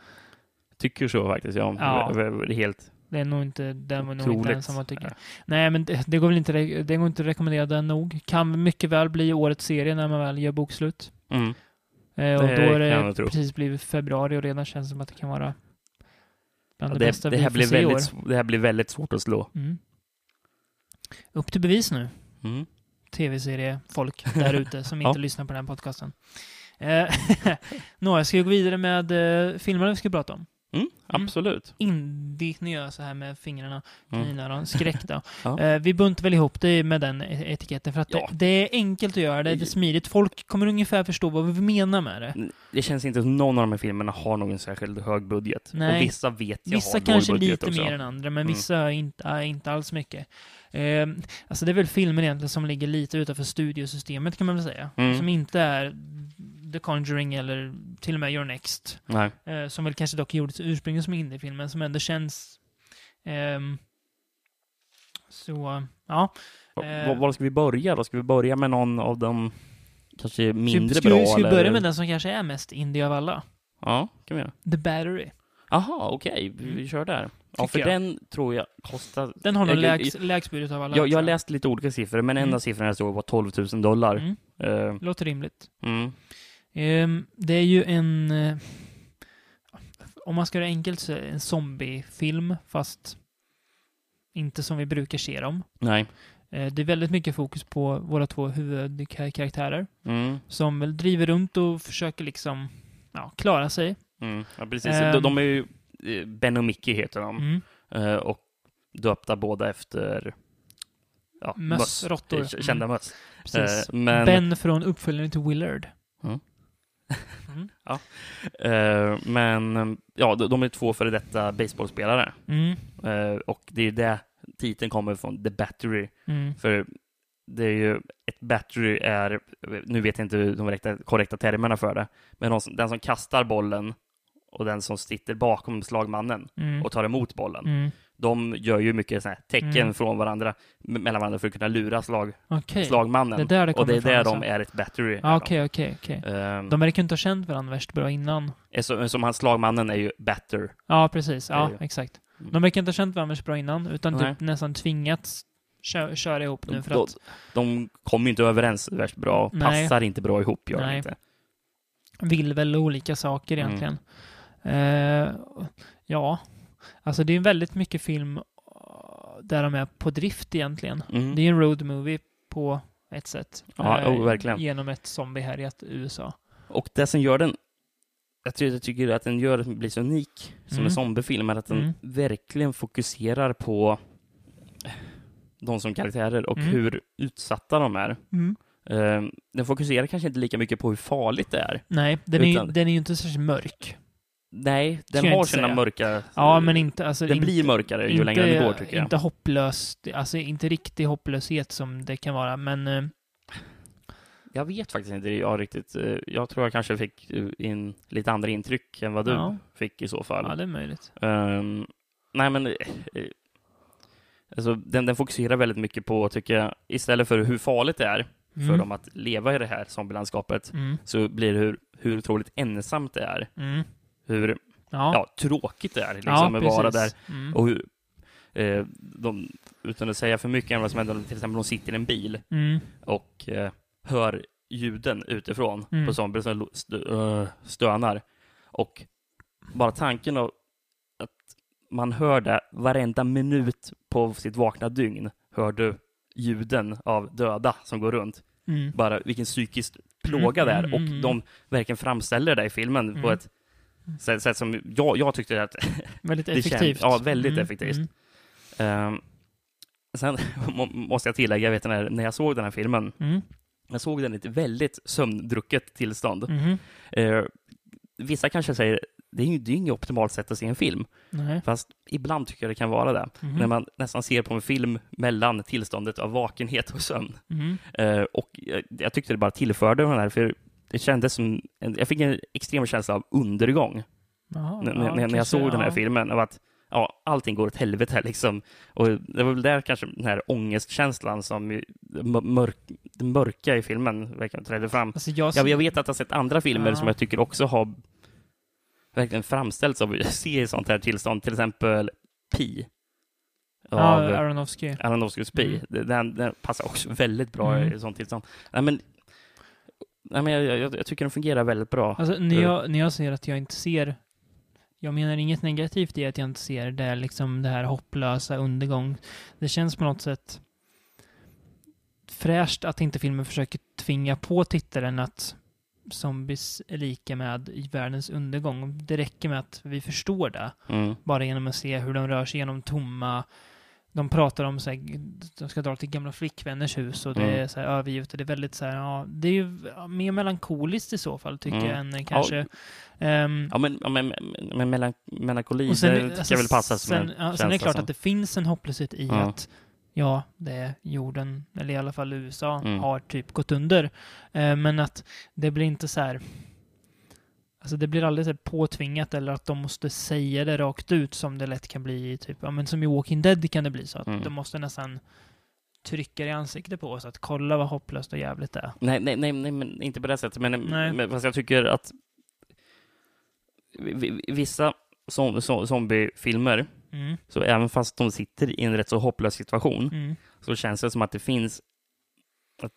tycker så faktiskt. Ja. Ja. Det är helt Det är nog inte, den var nog inte otroligt. ensam att tycka. Ja. Nej, men det, det går väl inte, re- det går inte att rekommendera den nog. Kan mycket väl bli årets serie när man väl gör bokslut. Mm. Eh, och Det då är kan jag nog det tro. precis blivit februari och redan känns det som att det kan vara bland det, Det, bästa det, här vi blir får se i år. väldigt, sv- det här blir väldigt svårt att slå. Mm. Upp till bevis nu, Mm. tv-seriefolk där ute <laughs> som Ja. inte lyssnar på den här podcasten. Eh, <laughs> Nå, jag ska ju gå vidare med eh, filmerna vi ska prata om. Mm, absolut. Indigt när jag gör så här med fingrarna, Mm. kaninöron, skräck då. Ja. Eh, Vi buntar väl ihop det med den e- etiketten för att Ja. det, det är enkelt att göra det, det är smidigt. Folk kommer ungefär förstå vad vi menar med det. Det känns inte som någon av de här filmerna har någon särskild hög budget. Nej. Och vissa vet jag har Vissa låg kanske budget lite också. mer än andra, men Mm. vissa har inte, äh, inte alls mycket. Eh, alltså det är väl filmer egentligen som ligger lite utanför studiosystemet kan man väl säga. Mm. Som inte är The Conjuring eller till och med Your Next. Nej. Eh, som väl kanske dock gjordes ursprungligen som indiefilm, men som ändå känns... ehm, så, ja. Eh. Eh. Var, var ska vi börja då? Ska vi börja med någon av de kanske mindre ska, bra? vi, ska vi eller- börja med den som kanske är mest indie av alla? Ja, kan vi göra. The Battery. Aha, okej. Vi, vi kör där. Ja, för jag. den tror jag kostar... Den har nog Jag- lägst lägst budget av alla. Jag, jag har tror läst lite olika siffror, men en Mm. av siffrorna jag såg var 12 000 dollar. Mm. Eh, Låter rimligt. mm. Ehm, det är ju en... eh, om man ska göra det enkelt så är det en zombiefilm, fast inte som vi brukar se dem. Nej. Eh, det är väldigt mycket fokus på våra två huvudkaraktärer Mm. som väl driver runt och försöker liksom ja, klara sig. Mm. Ja, precis. Ehm. De, de är ju... eh, Ben och Mickey heter de. Mm. Eh, och döpta båda efter... Ja, Möss, råttor. Eh, k- Mm. Kända möss. Precis. Eh, men- Ben från uppföljaren till Willard. Mm. Eh, men eh, ja, de, de är två före detta baseballspelare. Mm. Eh, och det är ju det titeln kommer från, The Battery. Mm. För det är ju, ett battery är, nu vet jag inte de korrekta, korrekta termerna för det, men de, som- den som kastar bollen och den som sitter bakom slagmannen Mm. och tar emot bollen, Mm. de gör ju mycket såna här tecken Mm. från varandra, m- mellan varandra för att kunna lura slag, Okej. slagmannen. Det är där det och det är kommer där ifrån, de är ett battery. Ah, Okej, okej, okej. Ehm, De verkar ju inte ha känt varandra värst bra innan. eh, som, som hans slagmannen är ju batter. Ja, precis. Det Ja, är ju- exakt. Mm. De verkar inte ha känt varandra så bra innan, utan Nej. typ nästan tvingats kö köra ihop nu De, för de, att de kommer ju inte överens värst bra och Nej. passar inte bra ihop, gör de Nej. inte. vill väl olika saker Mm. egentligen. Eh, ja, alltså det är väldigt mycket film eh, där de är på drift egentligen. Mm. Det är en road movie på ett sätt. Ja, Eh, jo, verkligen. Genom ett zombiehärjat USA. Och det som gör den, jag tycker, jag tycker att den gör att den blir så unik som Mm. en zombiefilm, är att den Mm. verkligen fokuserar på de som karaktärer och Mm. hur utsatta de är. Ehm, Den fokuserar kanske inte lika mycket på hur farligt det är. Nej, den är, ju- Utan- den är ju inte särskilt mörk. Nej, den jag har inte sina säga. mörka... Ja, men inte... Alltså, den inte, blir mörkare ju längre den går, tycker jag. Inte hopplöst, alltså inte riktig hopplöshet som det kan vara, men eh, Jag vet faktiskt inte jag riktigt. eh, Jag tror jag kanske fick eh, in lite andra intryck än vad du Ja. fick i så fall. ja, det är möjligt. Ehm, nej, men... eh, eh, Alltså, den, den fokuserar väldigt mycket på, tycker jag, istället för hur farligt det är för Mm. dem att leva i det här zombielandskapet, Mm. så blir det hur, hur otroligt ensamt det är. Mm. Hur ja. Ja, tråkigt det är liksom, att vara där. precis. Mm. Och hur, eh, de, utan att säga för mycket om vad som händer, om till exempel de sitter i en bil Mm. och eh, hör ljuden utifrån Mm. på zombier som lo- stö, ö, stönar. Och bara tanken av att man hör det varenda minut på sitt vakna dygn hör du ljuden av döda som går runt. Mm. Bara vilken psykisk plåga Mm, det är mm, och mm, de verkligen framställer det i filmen på Mm. ett sätt, sätt som jag, jag tyckte att Väldigt känns- effektivt. ja, väldigt effektivt. Mm. Ehm, sen <laughs> må- måste jag tillägga, jag vet, när, när jag såg den här filmen, Mm. jag såg den i ett väldigt sömndrucket tillstånd. Mhm. Eh, vissa kanske säger, det är ju det är ju inget optimalt sätt att se en film, Nej. fast ibland tycker jag det kan vara det. Mhm. När man nästan ser på en film mellan tillståndet av vakenhet och sömn. Mhm. Eh, och jag, jag tyckte det bara tillförde den här, för det kändes som, en, jag fick en extrem känsla av undergång Jaha, när, ja, när, när kanske, jag såg den här ja. filmen. Av att ja, allting går åt helvete här, liksom. Och det var väl där kanske den här ångestkänslan som ju- m- mörk, det mörka i filmen verkligen trädde fram. Alltså jag, Jag, jag vet att jag har sett andra filmer Ja. som jag tycker också har verkligen framställts av <laughs> att se i sånt här tillstånd. Till exempel Pi. Av Ja, Ah, Aronofsky. Aronofskys Pi. Mm. Den, den passar också väldigt bra Mm. i sånt tillstånd. Nej, men, nej, men jag, jag, jag tycker den fungerar väldigt bra. Alltså, när, jag, när jag säger att jag inte ser... Jag menar inget negativt i att jag inte ser det, här, liksom, det här hopplösa undergång. Det känns på något sätt fräscht att inte filmen försöker tvinga på tittaren att zombies är lika med i världens undergång. Det räcker med att vi förstår det, Mm. bara genom att se hur de rör sig genom tomma... De pratar om så här, de ska dra till gamla flickvänners hus och det Mm. är så här övergivet och det är väldigt så här, ja, det är ju ja, mer melankoliskt i så fall tycker Mm. jag än eh, kanske Ehm, Ja, men, ja, men, men melan, melankoli, och sen- det tycker alltså, jag väl passar som sen, en ja, sen känsla är det klart som- att det finns en hopplöshet i Ja. att ja, det är jorden, eller i alla fall USA, Mm. har typ gått under. Eh, men att det blir inte så här Alltså det blir aldrig så här påtvingat eller att de måste säga det rakt ut som det lätt kan bli i typ, ja men som i Walking Dead kan det bli så att Mm. de måste nästan trycka det i ansiktet på oss att kolla vad hopplöst och jävligt det är. Nej, nej, nej, nej men inte på det sättet. Men, Nej. men fast jag tycker att vi- vi- vissa som, som, zombiefilmer Mm. Så även fast de sitter i en rätt så hopplös situation Mm. så känns det som att det finns... Att,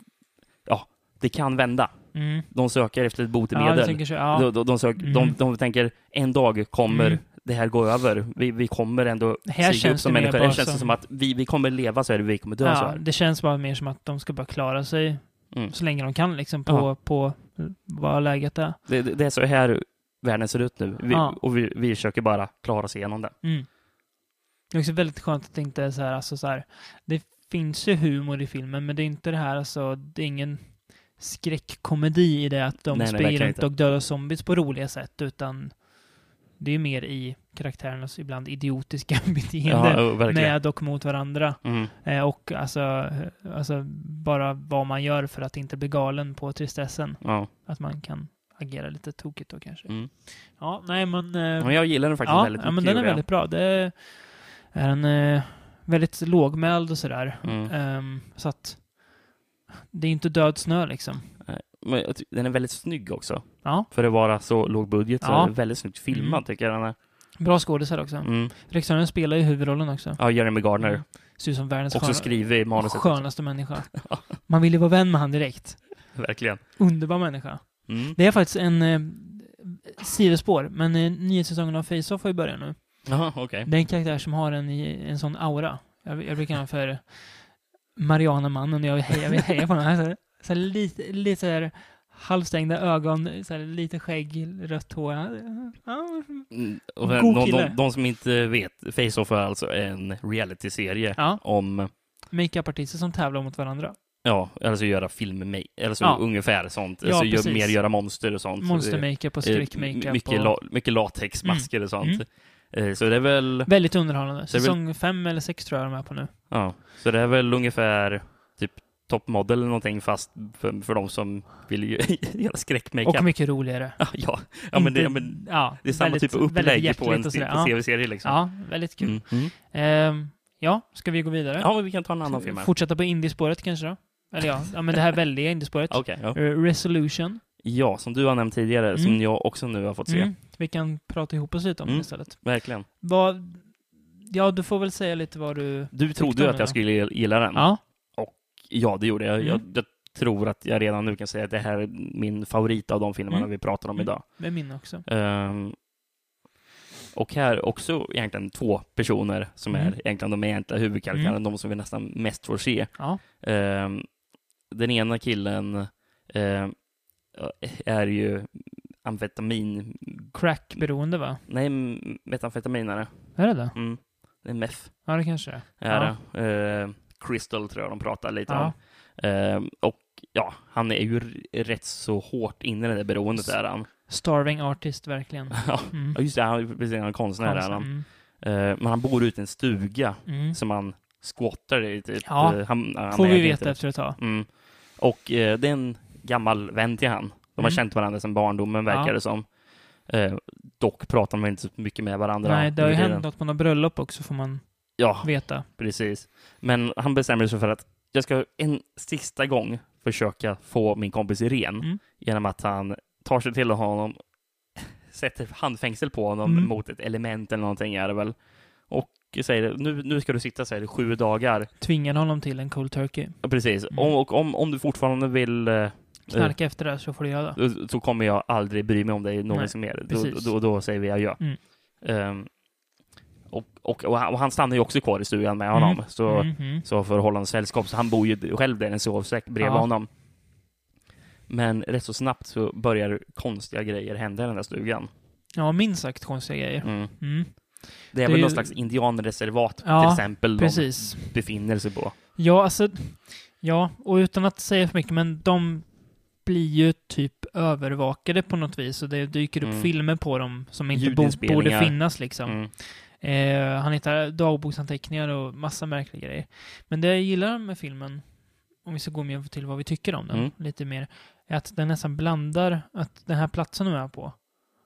ja, det kan vända. Mm. De söker efter ett Ja, botemedel. jag tänker så. Ja. de, de, de, sök, Mm. de, de tänker en dag kommer Mm. det här gå över. Vi, vi kommer ändå Här stiga upp känns det som mer människor. bara Här känns det som- som att vi, vi kommer leva så här, vi kommer dö så Ja, här. det känns bara mer som att de ska bara klara sig Mm. så länge de kan liksom på, Ja. på vad läget är. Det, det, det är så här världen ser ut nu. Vi, Ja. Och vi, vi försöker bara klara oss igenom den. Mm. Det är också väldigt skönt att det inte är så här, alltså så här, det finns ju humor i filmen, men det är inte det här, alltså, det är ingen skräckkomedi i det att de Nej, nej, springer verkligen runt inte. och dödar zombies på roliga sätt, utan det är mer i karaktärernas ibland idiotiska <laughs> beteende Ja, verkligen. med och mot varandra. Mm. Eh, och alltså, eh, alltså bara vad man gör för att inte bli galen på tristessen. Ja. Att man kan agera lite tokigt då kanske. Mm. Ja, nej men... eh, Men jag gillar den faktiskt ja, väldigt ja, men mycket, den är gjorde jag. väldigt bra. Det är en eh, väldigt lågmäld och sådär. Mm. Ehm, så att det är inte död snö liksom. Men jag ty- den är väldigt snygg också. Ja, För att vara så låg budget så Ja. är den väldigt snyggt filmad Mm. tycker jag den är. bra skådisar också. Mm. Mm. spelar ju huvudrollen också. Ja, Jeremy Gardner. Mm. Ser ut som världens Också skriver i manuset. skönaste <laughs> människa. Man vill ju vara vän med han direkt. Verkligen. Underbar människa. Mm. Det är faktiskt en eh, sidospår, men eh, nya säsongen av Face-Off har ju börjat nu. Jaha, okej. Det är en karaktär som har en, i- en sån aura. Jag, jag brukar kalla honom för Marianamannen och jag vill heja, jag vill heja på honom. Han har Så, här- så här lite, lite så här halvstängda ögon, så här lite skägg, rött hår. Ja, Mm. Och God de, de, kille. de, de som inte vet, Face-Off är alltså en realityserie Ja. om, Makeup-artister som tävlar mot varandra. ja, alltså göra film, med- eller så Ja. ungefär sånt. Ja, alltså gör, precis. mer göra monster och sånt. Monster-makeup och Eh, m- skräck-makeup. Mycket, Och... Mm. la, mycket latexmasker och sånt. Eh, Så det är väl, Väldigt underhållande. Så det är väl- Säsong fem eller sex tror jag de är på nu. ja, så det är väl ungefär typ toppmodell eller någonting fast för, för de som vill ju- <laughs> göra skräckmakeup. Och mycket roligare. Ja, ja men, det, ja, men ja, det är samma väldigt- typ av väldigt upplägg på en hjärtligt och sådär. Ja. tv-serie liksom. Ja, väldigt kul. Mm. Mm. Ehm, ja, ska vi gå vidare? Ja, men vi kan ta en annan film här. Fortsätta på indiespåret kanske då? Eller ja, ja men det här väldiga indiespåret. Okej. ja. Eh, Resolution. Ja, som du har nämnt tidigare, Mm. som jag också nu har fått se. Mm. Vi kan prata ihop oss lite om Mm. det istället. Verkligen. Vad... Ja, du får väl säga lite vad du... Du Tyckte trodde om ju att den, jag skulle gilla den. Ja. Ja, det gjorde jag. Mm. jag. Jag tror att jag redan nu kan säga att det här är min favorit av de filmerna Mm. vi pratar om Mm. idag. Det är min också. Ehm, och här också egentligen två personer som Mm. är egentligen de egentliga huvudkaraktärerna, Mm. de som vi nästan mest får se. Ja. Ehm, den ena killen ehm, är ju amfetamin... Crackberoende va? Nej, metamfetaminare. Är det det? Mm. Det är meth. Ja, det kanske det är. är det. Eh, Crystal tror jag de pratar lite Ja. om. Eh, och ja, han är ju r- rätt så hårt inne i det där beroendet där han. <laughs> Starving artist, verkligen. Ja, Mm. just det, han är precis han är konstnär där han. Mm. Eh, men han bor ute i en stuga Mm. som han squattar i. Typ. Ja. Eh, han, han Får vi äger veta inte. efter ett tag. Mm. Och eh, det är en gammal vän till han. De har Mm. känt varandra sedan barndomen verkar Ja. det som. Eh, dock pratar de inte så mycket med varandra. Nej, det har ju under hänt tiden. något på något bröllop också, får man Ja, veta. Precis. Men han bestämmer sig för att jag ska en sista gång försöka få min kompis ren Mm. genom att han tar sig till honom, <laughs> sätter handfängsel på honom Mm. mot ett element eller någonting är det väl. Och säger nu, nu ska du sitta säger det, sju dagar. Tvingar honom till en cold turkey. Ja, Precis. Mm. Om, och om, om du fortfarande vill eh, Knarka efter det här så får du göra det. då- så kommer jag aldrig bry mig om dig någonsin mer. Då, precis. då, då säger vi adjö. Mm. Ehm, och, och, och, han, och han stannar ju också kvar i stugan med honom. Mm. Så Mhm. så för att hålla honom sällskap. Så han bor ju själv där i en sovsäck bredvid Ja. honom. Men rätt så snabbt så börjar konstiga grejer hända i den där stugan. Ja, minst sagt konstiga grejer. Mm. Mm. Det Det är är väl ju- någon slags indianreservat Ja, till exempel Precis. de befinner sig på. Ja, alltså... Ja, och utan att säga för mycket, men de blir ju typ övervakade på något vis och det dyker upp Mm. filmer på dem som inte bo, Ljudinspelningar. borde finnas liksom. Mm. Eh, han hittar dagboksanteckningar och massa märkliga grejer. Men det jag gillar med filmen, om vi ska gå mer till vad vi tycker om den Mm. lite mer, är att den nästan blandar att den här platsen de är på,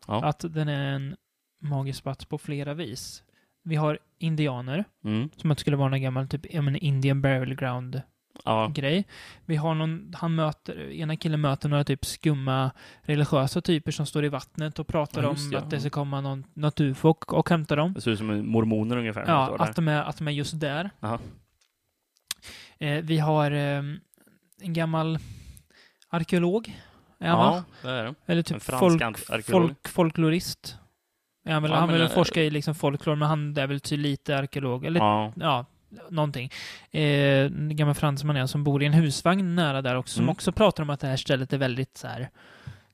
Ja. att den är en magisk plats på flera vis. Vi har indianer, Mm. som att det skulle vara någon gammal typ, ja men Indian Burial Ground Ja. grej. Vi har någon, han möter, ena killen möter några typ skumma religiösa typer som står i vattnet och pratar Ja, om just det, att det ja. ska komma någon, något ufo och, och hämta dem. Det ser ut som mormoner ungefär. som Ja, står där. att de, är, att de är just där. Jaha. Eh, vi har eh, en gammal arkeolog, är han va? ja, det är det. Eller en typ fransk folk, ant- arkeolog. folk, folklorist. Är han väl, Ja, han men, vill eh, forska i liksom folklor, men han är väl ty lite arkeolog. Eller Ja. ja, någonting. Eh, en gammal fransman är som bor i en husvagn nära där också, som Mm. också pratar om att det här stället är väldigt så här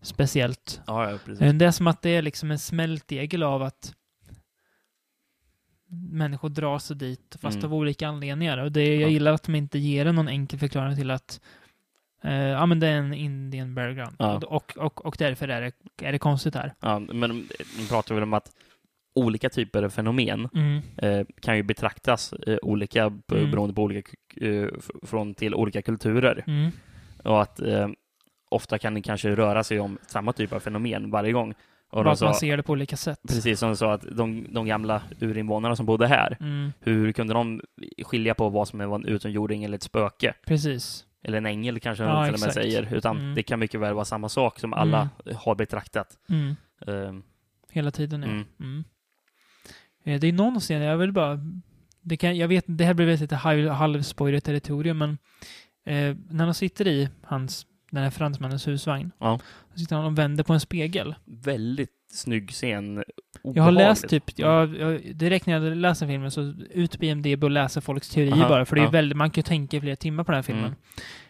speciellt. Ja, ja, precis. Eh, Det är som att det är liksom en smältdegel av att människor drar sig dit, fast Mm. av olika anledningar. Och det, Ja. jag gillar att de inte ger en någon enkel förklaring till att eh, ja, men det är en Indian background. Ja. Och, och, och därför är det, är det konstigt här. Ja, men de pratar väl om att olika typer av fenomen Mm. eh, kan ju betraktas eh, olika b- Mm. beroende på olika k- eh, f- från till olika kulturer Mm. och att eh, ofta kan det kanske röra sig om samma typ av fenomen varje gång. Och Bara de att man sa, ser det på olika sätt. precis som de sa att de, de gamla urinvånarna som bodde här, Mm. hur kunde de skilja på vad som var en utomjording eller ett spöke? Precis. Eller en ängel kanske de Ja, till och med exakt. säger, utan Mm. det kan mycket väl vara samma sak som alla har betraktat. Mm. Eh, Hela tiden, ja. Mm. Mm. Eh, Det är någon scen, jag vill bara... Det, kan, jag vet, det här blir väl lite halv- halvspoiler territorium, men eh, när de sitter i hans, den här fransmannens husvagn, Ja. så sitter han och vänder på en spegel. väldigt snygg scen. Jag har läst Obehagligt. typ, jag, jag, direkt när jag läser filmen så ut på IMDB och läser folks teorier Aha, bara, för det är ja. Mm. väldigt, man kan ju tänka i flera timmar på den här filmen.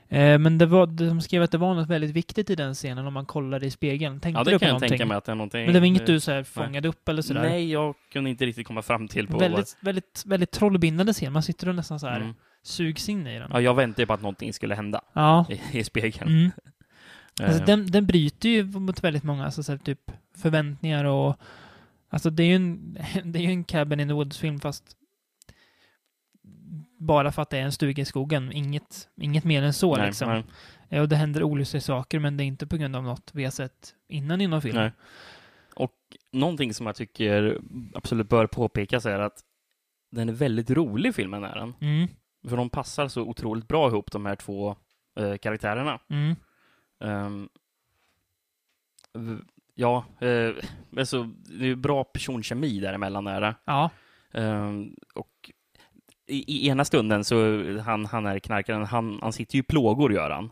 Eh, men det var, de skrev att det var något väldigt viktigt i den scenen om man kollade i spegeln. Tänkte Ja, du det på kan jag någonting? tänka mig att det är någonting. Men det var inget du så här fångade upp eller sådär? Nej, jag kunde inte riktigt komma fram till på Väldigt, väldigt, väldigt trollbindande scen. Man sitter och nästan så vad... här Typ Mm. sugs in i den. Ja, jag väntade ju på att någonting skulle hända Ja. i, i spegeln. Mm. Alltså, Eh, den, den bryter ju mot väldigt många alltså, så här, typ förväntningar och... Alltså det är ju en, <laughs> det är ju en Cabin in the Woods-film fast bara för att det är en stuga i skogen. Inget, inget mer än så nej, liksom. nej, Eh, Och det händer olustiga saker men det är inte på grund av något vi har sett innan inom filmen. nej. Och någonting som jag tycker absolut bör påpekas är att den är väldigt rolig, filmen är den. Mm, För de passar så otroligt bra ihop, de här två eh, karaktärerna. mm, Ehm, v- ja, eh, alltså, det är ju bra personkemi däremellan. Är det. ja. Ehm, och i, I ena stunden så, han, han är knarkaren, han, han sitter ju i plågor gör han.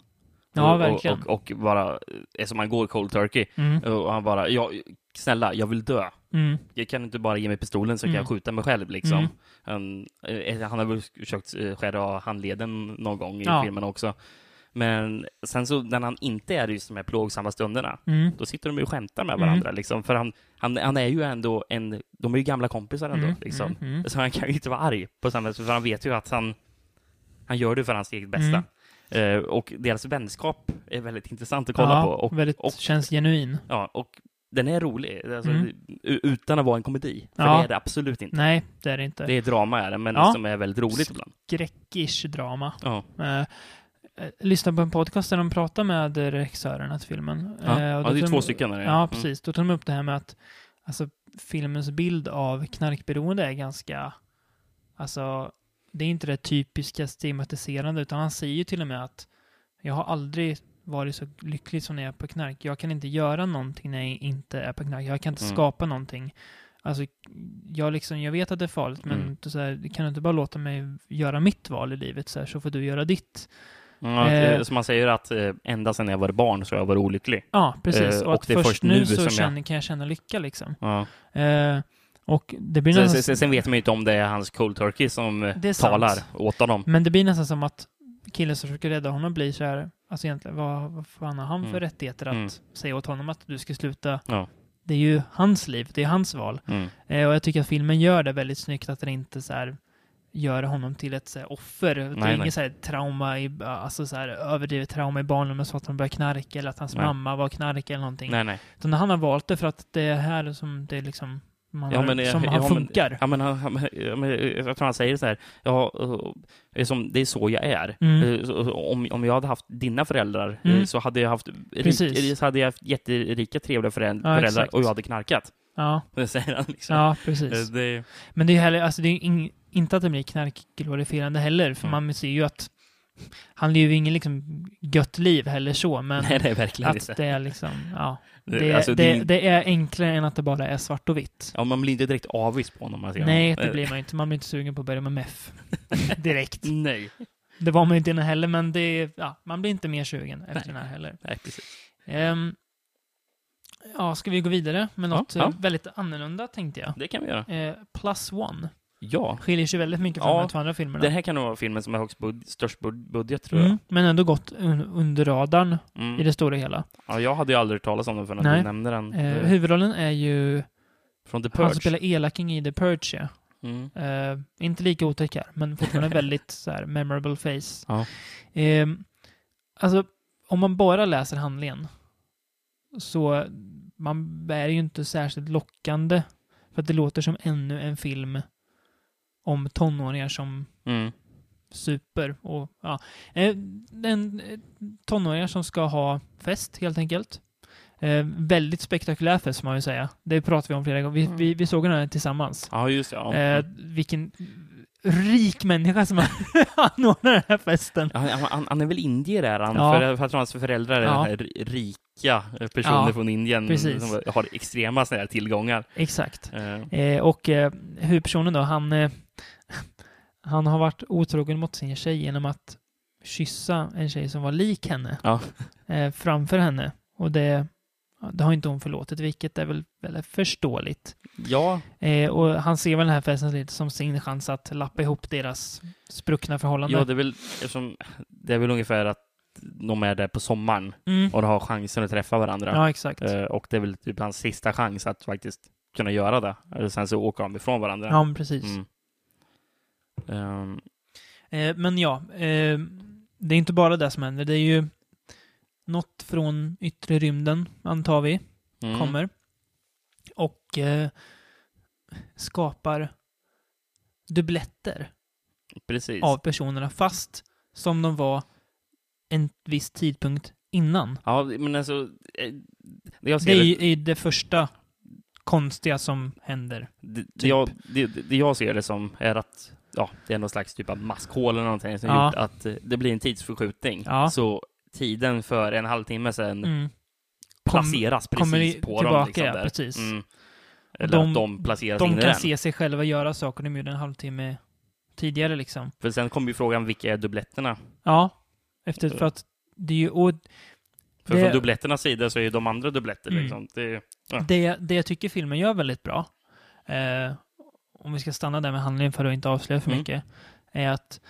Ja, och, verkligen. Och, och, och bara, eh, som han går cold turkey. Mm, Och han bara, ja, snälla, jag vill dö. mm, Jag kan inte bara ge mig pistolen så kan Mm. jag skjuta mig själv liksom. Mm. Han, eh, han har väl försökt eh, skära av handleden någon gång i Ja. filmen också. Men sen så när han inte är i just de här plågsamma stunderna, mm, då sitter de ju och skämtar med Mm. varandra liksom. För han, han, han är ju ändå en, de är ju gamla kompisar ändå mm, liksom. mm, mm. Så han kan ju inte vara arg på samma sätt, för han vet ju att han, han gör det för hans eget bästa. Eh, och deras vänskap är väldigt intressant att kolla Mm. ja, på. Och, väldigt, och- känns genuin. ja, och den är rolig, alltså, Mm. u- utan att vara en komedi. För Ja. det är det absolut inte. Nej, det är det inte. Det är drama är det, men Ja. som är väldigt roligt ibland. skräckish drama. Ja. Eh, eh, lyssnade på en podcast där de pratade med regissörerna till filmen. Ja. Eh, och då ja, mm. det tog är de- två stycken. Där, Ja, precis. Då tog de upp det här med att alltså, filmens bild av knarkberoende är ganska... Alltså, det är inte det typiska stigmatiserande, utan han säger ju till och med att jag har aldrig varit så lycklig som när jag är på knark. Jag kan inte göra någonting när jag inte är på knark. Jag kan inte Mm. skapa någonting. Alltså, jag, liksom, jag vet att det är farligt, men Mm. så här, kan du inte bara låta mig göra mitt val i livet så, här, så får du göra ditt? Mm. Ja, eh, Eh. Som man säger att eh, ända sedan jag var barn så har jag varit olycklig. Ja, precis. Eh, och att och det är först, först nu nu så som jag- känner, kan jag känna lycka liksom. Ja. Eh, och det blir Sen, nästan... sen, sen vet man ju inte om det är hans cold turkey som eh, Det är sant. talar åt honom. Men det blir nästan som att killen som försöker rädda honom blir så här, alltså egentligen, vad, vad fan har han för Mm. rättigheter att Mm. säga åt honom att du ska sluta? Ja. Det är ju hans liv, det är hans val. Mm. Eh, och jag tycker att filmen gör det väldigt snyggt, att den inte så här gör honom till ett så här, offer. det är Nej, nej. inget så här, trauma, i, alltså så här, överdrivet trauma i barndomen så att han börjar knarka eller att hans Nej. mamma var knark eller någonting. Nej, nej. Utan han har valt det för att det är här som det är liksom, man Ja, har, men, eh, som han ja, men- funkar. Ja, men, han- han- ja, men, eh, jag tror han säger så här, ja, eh, det är som, det är så jag är. Mm. Eh, så- Om, om jag hade haft dina föräldrar eh, Mm. så hade jag haft, rik, Precis. eh, så hade jag haft jätterika, trevliga föräld- Ja, föräldrar exakt. och jag hade knarkat. <laughs> Ja, Det säger han liksom. ja, precis. Eh, Det, Men det är ju heller, alltså det är ju ing- inte att det blir knarkglorifierande heller, för Mm. man ser ju att Han lever ju ingen liksom gött liv heller så, men Nej, det är verkligen <laughs> att inte. det är liksom, ja. Det- Det, alltså, det, det- det är enklare än att det bara är svart och vitt. Ja, man blir inte direkt avis på honom. Man Eh, ser Nej, honom. det blir man ju inte. Man blir inte sugen på att börja med <laughs> meff. Direkt. Eh, Nej. Det var man ju inte innan heller, men det, ja, man blir inte mer sugen efter den här heller. Nej, precis. Ehm, ja, ska vi gå vidare med Ja, något ja. eh, väldigt annorlunda, tänkte jag. Det kan vi göra. Eh, Plus One Ja. skiljer sig väldigt mycket från Ja, de här två andra filmerna. Det här kan nog vara filmen som har högst bud- störst bud- budget, tror jag. Mm, men ändå gått un under radarn Mm. i det stora hela. Ja, jag hade ju aldrig hört talas om den förrän Nej. du nämnde den. Eh, eh, huvudrollen är ju Från The han Purge. som spelar elaking i The Purge. Ja. Mm. Eh, inte lika otäck här, men <laughs> fortfarande väldigt så här, memorable face. Ja. Ehm, alltså, om man bara läser handlingen så man är ju inte särskilt lockande. För att det låter som ännu en film om tonåringar som Mm. super och ja. Eh, En eh, tonåringar som ska ha fest helt enkelt. Eh, väldigt spektakulär fest får man ju säga. Det pratade vi om flera gånger. Vi, vi, vi såg den här tillsammans. Ja, just det. Ja. Eh, vilken rik människa som <laughs> anordnar den här festen. Han, han, han är väl indier är han, Ja. för, för att hans föräldrar är Ja. här r- rika eh, personer Ja, från Indien precis. som har extrema såna här tillgångar. Exakt. Eh, Eh, och eh, huvudpersonen då, han, eh, <laughs> han har varit otrogen mot sin tjej genom att kyssa en tjej som var lik henne Ja. <laughs> eh, framför henne. Och det, ja, det har inte hon förlåtit, vilket är väl väldigt förståeligt. ja, Eh, och han ser väl den här festen lite som sin chans att lappa ihop deras spruckna förhållande. ja, det är väl eftersom, det är väl ungefär att de är där på sommaren mm. och har chansen att träffa varandra. ja exakt. Eh, och det är väl typ hans sista chans att faktiskt kunna göra det. Eller sen så åker de ifrån varandra. Ja, men precis. Mm. Ehm, Eh, men ja, eh, det är inte bara det som händer. Det är ju något från yttre rymden, antar vi. mm. kommer och eh, skapar dubbletter Precis. av personerna fast som de var en viss tidpunkt innan. Ja, men alltså, eh, det jag Det ser är ju är det första konstiga som händer. det, det, jag, det, det jag ser det som är att ja, det är någon slags typ av maskhål eller någonting som Ja. gjort att eh, det blir en tidsförskjutning. Ja. Så tiden för en halvtimme sedan Mm. placeras precis kommer i- på tillbaka, dem. Liksom, ja, där. precis. Mm. Och Eller de- att de placeras in De i kan den. se sig själva göra saker de gjorde en halvtimme tidigare liksom. För sen kommer ju frågan, vilka är dubbletterna? Ja, efter för att det är ju, och För Det- från dubbletternas sida så är ju de andra dubbletter. Mm. Liksom. Det, Ja. det, det jag tycker filmen gör väldigt bra, eh, om vi ska stanna där med handlingen för att inte avslöja för Mm. mycket, är att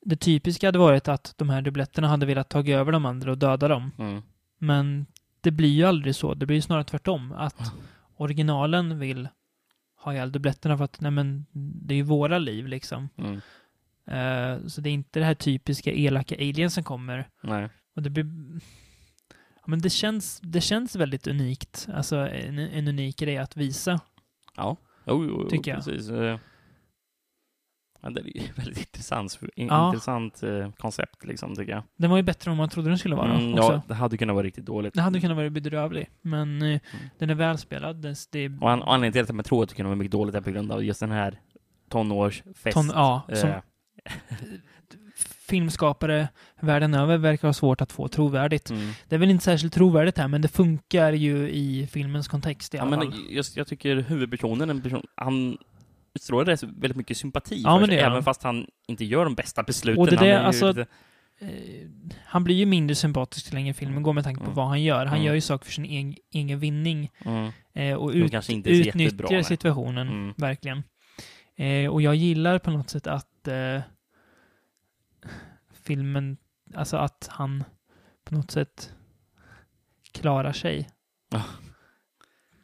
det typiska hade varit att de här dubbletterna hade velat ta över de andra och döda dem. mm. Men det blir ju aldrig så. Det blir ju snarare tvärtom. Att originalen vill ha ihjäl dubbletterna för att nej men, det är ju våra liv liksom. Mm. Eh, så det är inte det här typiska elaka alien som kommer. Nej. Och det blir... Ja, men det känns, det känns väldigt unikt. Alltså en, en unik grej att visa. Ja. Jo, jo, jo, Tycker jag. precis. Eh, Ja, det är ju <laughs> väldigt intressant, in- Ja. intressant eh, koncept, liksom, tycker jag. Den var ju bättre än man trodde den skulle vara. Mm, också. ja, det hade kunnat vara riktigt dåligt. Den hade kunnat vara bedrövlig, men eh, den är välspelad. Den, det är Och an- och anledningen till att man tror att det kunde vara mycket dåligt är på grund av just den här tonårsfest. ton, ja, eh, som filmskapare världen över verkar ha svårt att få trovärdigt. mm. Det är väl inte särskilt trovärdigt här, men det funkar ju i filmens kontext i ja, alla men fall. just, jag tycker huvudpersonen, en person, han utstrålar rätt- väldigt mycket sympati Ja, för men sig, det gör även han. fast han inte gör de bästa besluten. Och det är han det, ju alltså- lite- Eh, han blir ju mindre sympatisk till längre filmen går med tanke på Mm. vad han gör. Han Mm. gör ju saker för sin egen, egen vinning mm, eh, och de ut, kanske inte är så jättebra. utnyttjar nej. situationen, Mm. verkligen. Eh, och jag gillar på något sätt att eh, filmen, alltså att han på något sätt klarar sig Ja.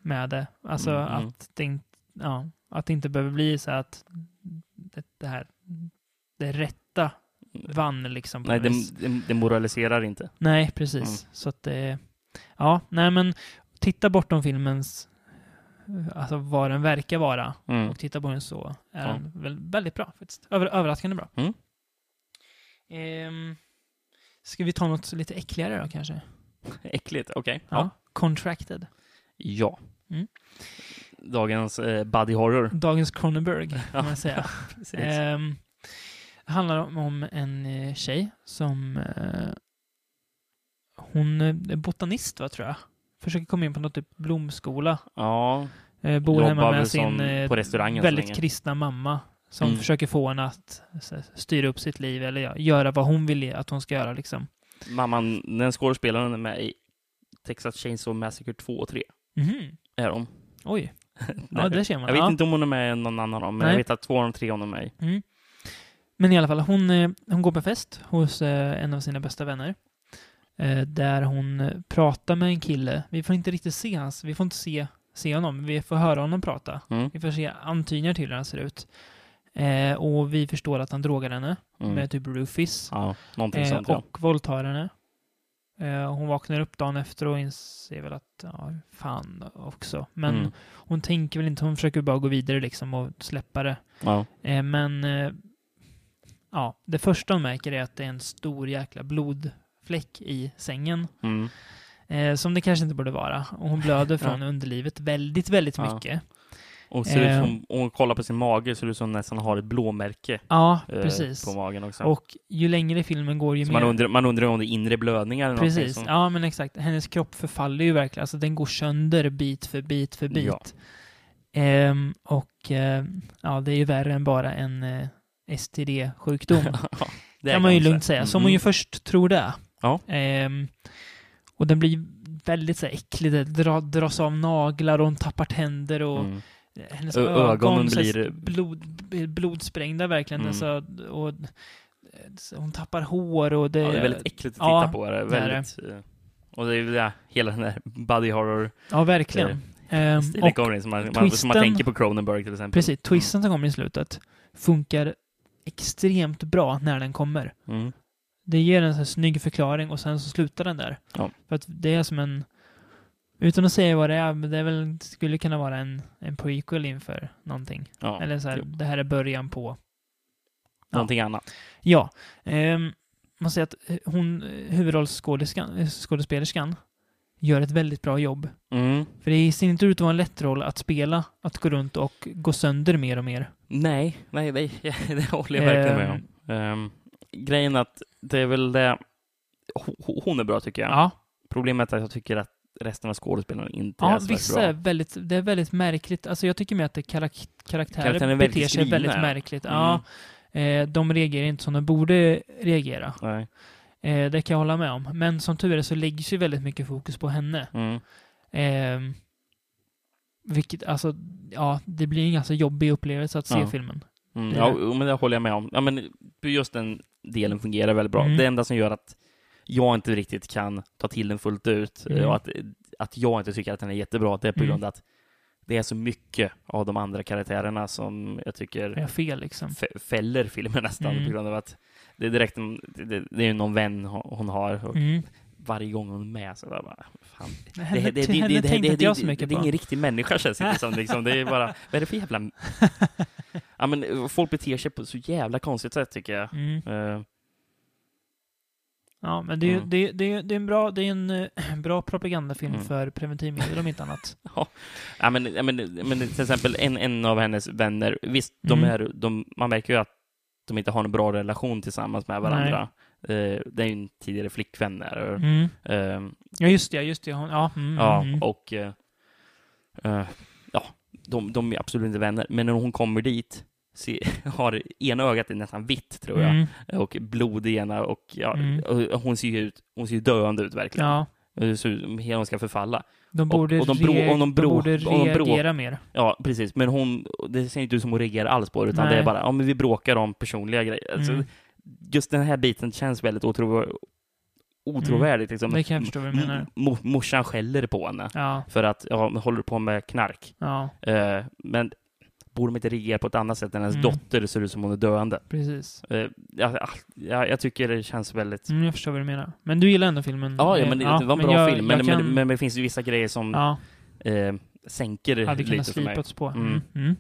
med det. Alltså Ah. Mm, mm. att, det inte, ja, att det inte behöver bli så att det, det här, det rätta vann liksom. På Nej, något vis. det, Mm. det, det moraliserar inte. Nej, precis. Så att det... Ja, nej men titta bortom filmens... Alltså vad den verkar vara Mm. och titta på den så är Ja. den väl väldigt bra faktiskt. Över, överraskande bra. Mm. Ehm, ska vi ta något lite äckligare då kanske? Äckligt, okej. Ja. <laughs> Contracted. ja. Mm. Dagens eh, buddy horror. <laughs> Dagens Cronenberg, kan man säga. Precis. Ehm, Det handlar om, om en eh, tjej som... Eh, hon är botanist, va, tror jag. Försöker komma in på något typ blomskola. Ja, Eh, bor Jobbar hemma väl med sin som eh, på restaurangen så väldigt länge. kristna mamma som Mm. försöker få henne att så här, styra upp sitt liv eller ja, göra vad hon vill att hon ska göra. Liksom. mamman, den skådespelaren är med i Texas Chainsaw Massacre 2 och 3. Mhm. Är de. <laughs> Oj. Ja, det ser man. Jag vet ja. inte om hon är med i någon annan av dem, men Nej. jag vet att två av de tre hon är med i. Men i alla fall, hon, eh, hon går på fest hos eh, en av sina bästa vänner. Eh, Där hon eh, pratar med en kille. Vi får inte riktigt se hans, vi får inte se, se honom, men vi får höra honom prata. Mm. Vi får se antydningar till hur han ser ut. Eh, Och vi förstår att han drogar henne Mm. med typ roofies. Ja, någonting Eh, sånt. Ja. och våldtar henne. Eh, hon vaknar upp dagen efter och inser väl att, ja, fan också. Men Mm. hon tänker väl inte, hon försöker bara gå vidare liksom och släppa det. Ja. Eh, men, eh, ja, det första hon märker är att det är en stor jäkla blodfläck i sängen. Mm. Eh, som det kanske inte borde vara. Och hon <laughs> blöder från underlivet väldigt, väldigt Ja. mycket. Och ser ut Eh. som, om hon kollar på sin mage ser det ut som hon nästan har ett blåmärke Ja, eh, precis. på magen också. Och ju längre filmen går ju så mer... man, undrar, man undrar om det är inre blödningar eller någonting Precis, som- ja men exakt. Hennes kropp förfaller ju verkligen. Alltså den går sönder bit för bit för bit. Ja. Ehm, och ehm, ja, det är ju värre än bara en eh, STD-sjukdom. <laughs> Det kan man ju kanske. lugnt säga. Som hon ju Mm. först tror det. Ja. Ehm, och den blir väldigt så här, äcklig. Det dra, dras av naglar och hon tappar tänder och Mm. hennes Ö- ögonen ögon så här, blir- blod, blodsprängda verkligen. Mm. Alltså, och, eh, så hon tappar hår och det... Ja, det är väldigt äckligt att titta ja, på. Det. är det är Väldigt, eh, Och det är ju det, hela den där body horror-stilen ja verkligen. Ehm, och kommer in, som man, man, som man twisten- tänker på Cronenberg till exempel. Mm. Precis, twisten som kommer i slutet funkar extremt bra när den kommer. Mm. Det ger en så här snygg förklaring och sen så slutar den där. Ja. För att det är som en... Utan att säga vad det är, men det är väl, skulle kunna vara en, en prequel inför någonting. Ja. Eller så här, jo. det här är början på... Någonting annat. Ja. Ehm, man säger att eh, hon, eh, huvudrollsskådeskan- eh, skådespelerskan gör ett väldigt bra jobb. Mm. För det ser inte ut att vara en lätt roll att spela, att gå runt och gå sönder mer och mer. Nej, nej, <laughs> nej, det håller jag verkligen med om. Ehm, grejen är att det är väl det... ho- Hon är bra tycker jag. Ja. Problemet är att jag tycker att resten av skådespelarna inte Ja, är så vissa är värst bra. väldigt, det är väldigt märkligt. Alltså jag tycker med att det karak karaktärer Karaktären är väldigt beter sig skrivna, väldigt ja. Mm. märkligt. Ja, eh, de reagerar inte som de borde reagera. Nej. Eh, det kan jag hålla med om. Men som tur är så läggs ju väldigt mycket fokus på henne. Mm. Eh, vilket, alltså, ja, det blir en ganska jobbig upplevelse att se Ja. filmen. Mm, Det är ja, det. jo, men det håller jag med om. Ja, men just den delen fungerar väldigt bra. Mm. Det enda som gör att jag inte riktigt kan ta till den fullt ut eh, Mm. och att, att jag inte tycker att den är jättebra, det är på Mm. grund av att det är så mycket av de andra karaktärerna som jag tycker Jag har fel liksom. fä- fäller filmen nästan Mm. på grund av att det är direkt en, det, det är ju någon vän ho- hon har och Mm. varje gång hon är med så bara, fan. Henne, henne det- tänkte det- inte det- jag så det- mycket Det är på. ingen riktig människa känns det som. Liksom. Det <laughs> är bara, vad är det för jävla... Ja, men eh, folk beter sig på så jävla konstigt sätt tycker jag. Mm. Eh, Ja, men det är, ju- Mm. det, är- det, är- det är en bra, det är en <clears throat> eh, bra propagandafilm Mm. för preventivmedel om inte annat. ja, men, ja, men, ja, men till exempel en, en av hennes vänner, visst, de Mm. är, de, man märker ju att de inte har en bra relation tillsammans med varandra. Eh, det är ju en tidigare flickvän där. och, Mm. eh, Ja, just det. Just det. Hon, ja, mm, Ja, mm, och... eh, eh, ja, de, de är absolut inte vänner. Men när hon kommer dit, se, <laughs> har ena ögat är nästan vitt, tror jag. Mm, Och blod i ena och, ja, Mm. och hon ser ju ut, hon ser ju döende ut verkligen. ja. Det ser ut som hela hon ska förfalla. De borde, och de re- bro- och de bro- borde och de bro- reagera mer. Ja, precis. Men hon, det ser inte ut som hon reagerar alls på det, utan Nej. det är bara, ja men vi bråkar om personliga grejer. Alltså, Mm. Just den här biten känns väldigt otro- otrovärdigt. Liksom. Mm. Det kan jag förstå vad du menar. M- mor- morsan skäller på henne Ja, för att, ja, men håller du på med knark? ja, Eh, men borde de inte reagera på ett annat sätt än hennes Mm. dotter ser ut som hon är döende? precis. Eh, ja, ja, ja, jag tycker det känns väldigt... Mm, jag förstår vad du menar. Men du gillar ändå filmen? Ja, ja, Eh, men det, det var en men bra jag- film, men, jag men, kan- men det finns ju vissa grejer som ja, eh, sänker hade kunnat lite för mig. slipats på. Mm. Mm. Mm.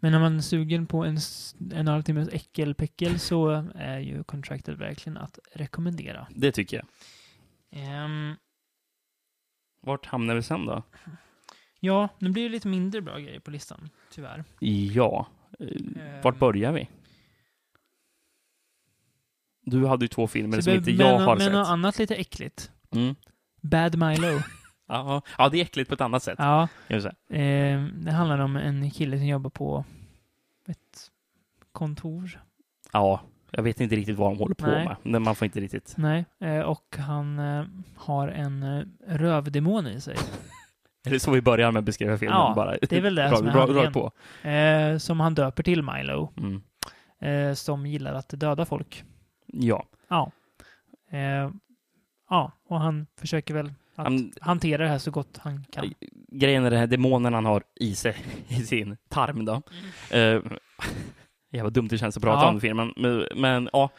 Men när man är sugen på en, s- en halvtimmes äckelpäckel så är ju Contracted verkligen att rekommendera. Det tycker jag. Ehm, Vart hamnar vi sen då? ja, nu blir det lite mindre bra grejer på listan, tyvärr. Ja. Eh, Ehm, Vart börjar vi? Du hade ju två filmer Så som det- inte jag men, har men sett. något annat lite äckligt. Mm. Bad <laughs> Milo. Ja, ja, det är äckligt på ett annat sätt. ja. kan jag säga. Eh, det handlar om en kille som jobbar på ett kontor. Ja, jag vet inte riktigt vad de håller på Nej. med. Men man får inte riktigt... Nej. Eh, och han eh, har en eh, rövdemon i <laughs> sig. Eller så vi börjar med att beskriva filmen Ja, bara. det är väl det Bra- som är bra- handlingen. rakt på. Eh, som han döper till Milo. Mm. Eh, som gillar att döda folk. Ja. Ja. Eh, ja, och han försöker väl att Han- hantera det här så gott han kan. Grejen är den här demonen han har i sig, <laughs> i sin tarm då. Mm. <laughs> jävla dumt det känns att prata Ja. om filmen. Men, men ja.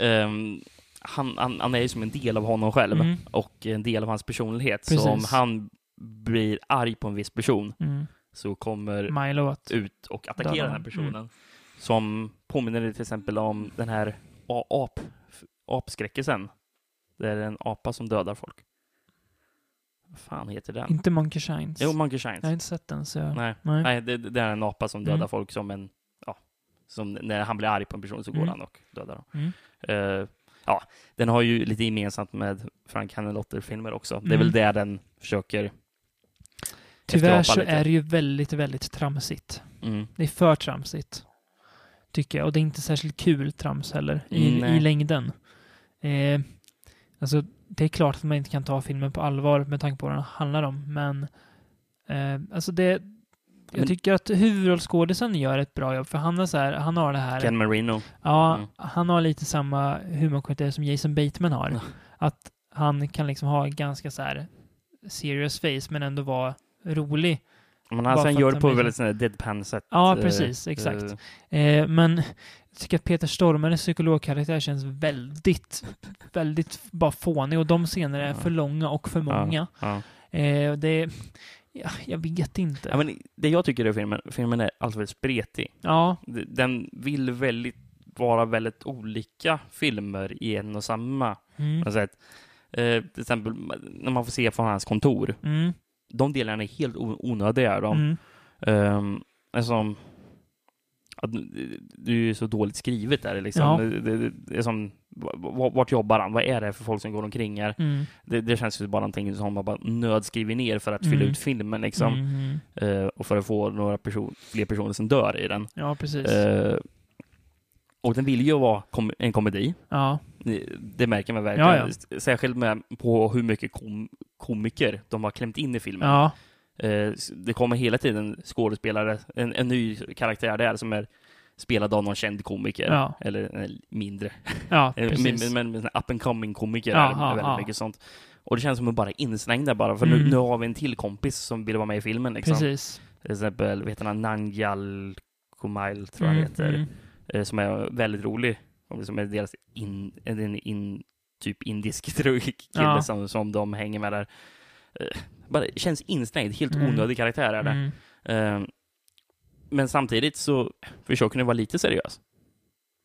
Ehm, han, han, han är ju som en del av honom själv Mm. och en del av hans personlighet. Precis. Så om han blir arg på en viss person Mm. så kommer Milo att... ut och attackera Mm. Döda den här honom. Mm. personen. Som påminner till exempel om den här a- ap, f- apskräckisen. Det är en apa som dödar folk. Vad fan heter den? Inte Monkey Shines. Jo, Monkey Shines. jag har inte sett den så... Nej, Nej. Nej det, det är en apa som dödar Mm. folk som en... Ja, som när han blir arg på en person så går Mm. han och dödar dem. Mm. Eh, ja, den har ju lite gemensamt med Frank Hanelotter-filmer också. Det är Mm. väl där den försöker... Tyvärr efterapa så lite. är det ju väldigt, väldigt tramsigt. Mm. Det är för tramsigt. Tycker jag. Och det är inte särskilt kul trams heller. I, Mm, nej. i längden. Eh, alltså, det är klart att man inte kan ta filmen på allvar med tanke på vad den handlar om. Men, eh, alltså det... Jag Men- tycker att huvudrollsskådisen gör ett bra jobb. För han är så här, han har det här... Ken Marino. Ja, Mm. han har lite samma humorkvalitet som Jason Bateman har. Ja. Att han kan liksom ha ganska så här serious face men ändå vara rolig. Men Bara alltså, han för gör att det på han blir- väldigt sån här deadpan-sätt. Ja, eh, precis. Exakt. eh, Eh, men jag tycker att Peter Stormares psykologkaraktär känns väldigt, väldigt f- bara fånig och de scenerna är Ja. för långa och för många. ja. Eh, och det, ja, jag vet inte. Ja, men det jag tycker är filmen, filmen är alldeles väldigt spretig. ja, D- Den vill väldigt vara väldigt olika filmer i en och samma. mm, På något sätt. Eh, till exempel när man får se från hans kontor. mm, De delarna är helt o- onödiga. är De. mm, Ehm, alltså, att, det- det är ju så dåligt skrivet där. Liksom. Ja. Det, det, det är som, v- v- vart jobbar han? Vad är det för folk som går omkring här? mm, Det, det känns ju bara någonting som man bara nödskriver ner för att fylla Mm. ut filmen. Liksom. mm, mm. Eh, och för att få några person, fler personer som dör i den. Ja, precis. Eh, och den vill ju vara kom en komedi. ja, Det märker man verkligen. Ja, Särskilt med på hur mycket kom komiker de har klämt in i filmen. ja, Eh, s- det kommer hela tiden skådespelare, en, en ny karaktär där som är spelad av någon känd komiker. Ja. Eller en mindre. ja, Eh, Men, men, precis. men, men up and coming komiker Ja, är ja, väldigt ja. mycket sånt. Och det känns som att bara inslängda bara, för Mm. nu, nu har vi en till kompis som vill vara med i filmen. Liksom. Precis. Till exempel, vet han, Nangal Kumail tror jag han Mm, heter. mm. eh, Som är väldigt rolig. Och Som är deras in, en in, typ indisk <laughs> tror jag, kille Ja. som, som de hänger med där. Eh, Bara, känns instängd, helt Mm. onödig karaktär är det. Mm. Eh, Men samtidigt så försöker den vara lite seriös.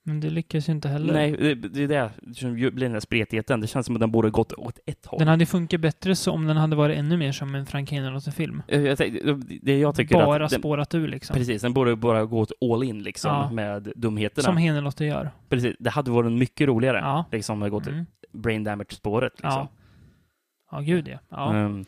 Men det lyckas ju inte heller. Nej, det, det är det som ju blir den där spretigheten. Det känns som att den borde gått åt ett håll. Den hade ju funkat bättre så om den hade varit ännu mer som en Frank Henderson-film. Eh, jag tänkte- Det jag tycker Bara att den, spårat ur liksom. Precis, den borde bara gå åt all in liksom Ja. med dumheterna. Som Henelotte gör. Precis, det hade varit mycket roligare. Ja. Liksom har gått Mm. brain damage-spåret. Liksom. Ja. ja, gud ja. ja. Ehm.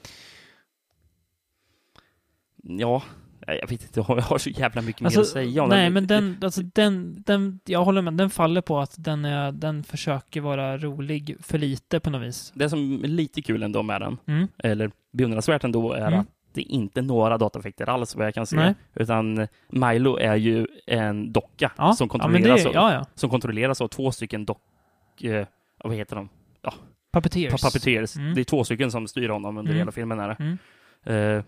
ja, nej, jag vet inte. Jag har- jag har så jävla mycket mer att säga om Alltså, nej, men den, alltså, den, den, jag håller med, den faller på att den, är, den försöker vara rolig för lite på något vis. Det som är lite kul ändå med den, Mm. eller beundransvärt ändå, är Mm. att det är inte några dataeffekter alls vad jag kan se. Nej. Utan Milo är ju en docka Ja. som, ja, men det kontrolleras är, av, ja, ja. som kontrolleras av två stycken dock... Eh, vad heter de? Puppeteers. Pa- Puppeteers. Mm. Det är två stycken som styr honom under Mm. hela filmen. Här. Mm. Eh,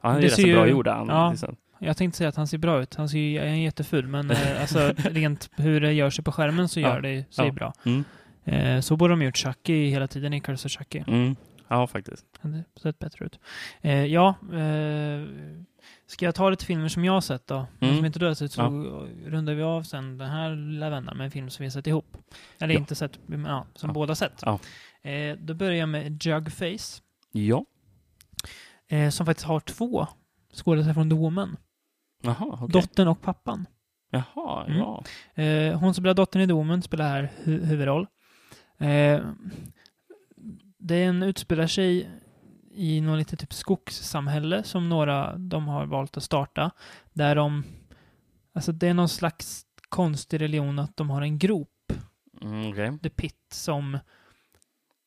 han är Det ju rätt så ser ju- bra gjord. Han, ja. liksom. Jag tänkte säga att han ser bra ut. Han ser ju, han är jätteful, men <laughs> eh, alltså, rent hur det gör sig på skärmen så Ja. gör det sig Ja. bra. Mm. Eh, så borde de gjort Chucky hela tiden i Curse of Chucky. Mm. Ja, faktiskt. hade sett bättre ut. Eh, ja, eh, ska jag ta lite filmer som jag har sett då? Mm. Som inte du har sett så Ja. rundar vi av sen den här lilla vändan med en film som vi har sett ihop. Eller Ja. inte sett, men ja, som Ja. båda sett. Ja. Eh, då börjar jag med Jugface, Ja. eh, som faktiskt har två skådespelare från The Woman. Jaha, okej. Dottern och pappan. Jaha, Mm. ja. Eh, hon som spelar dottern i Domen spelar här hu- huvudroll. Eh, den utspelar sig i något litet typ skogssamhälle som några de har valt att starta. Där de, alltså det är någon slags konstig religion att de har en grop, Mm, Okej. The Pit, som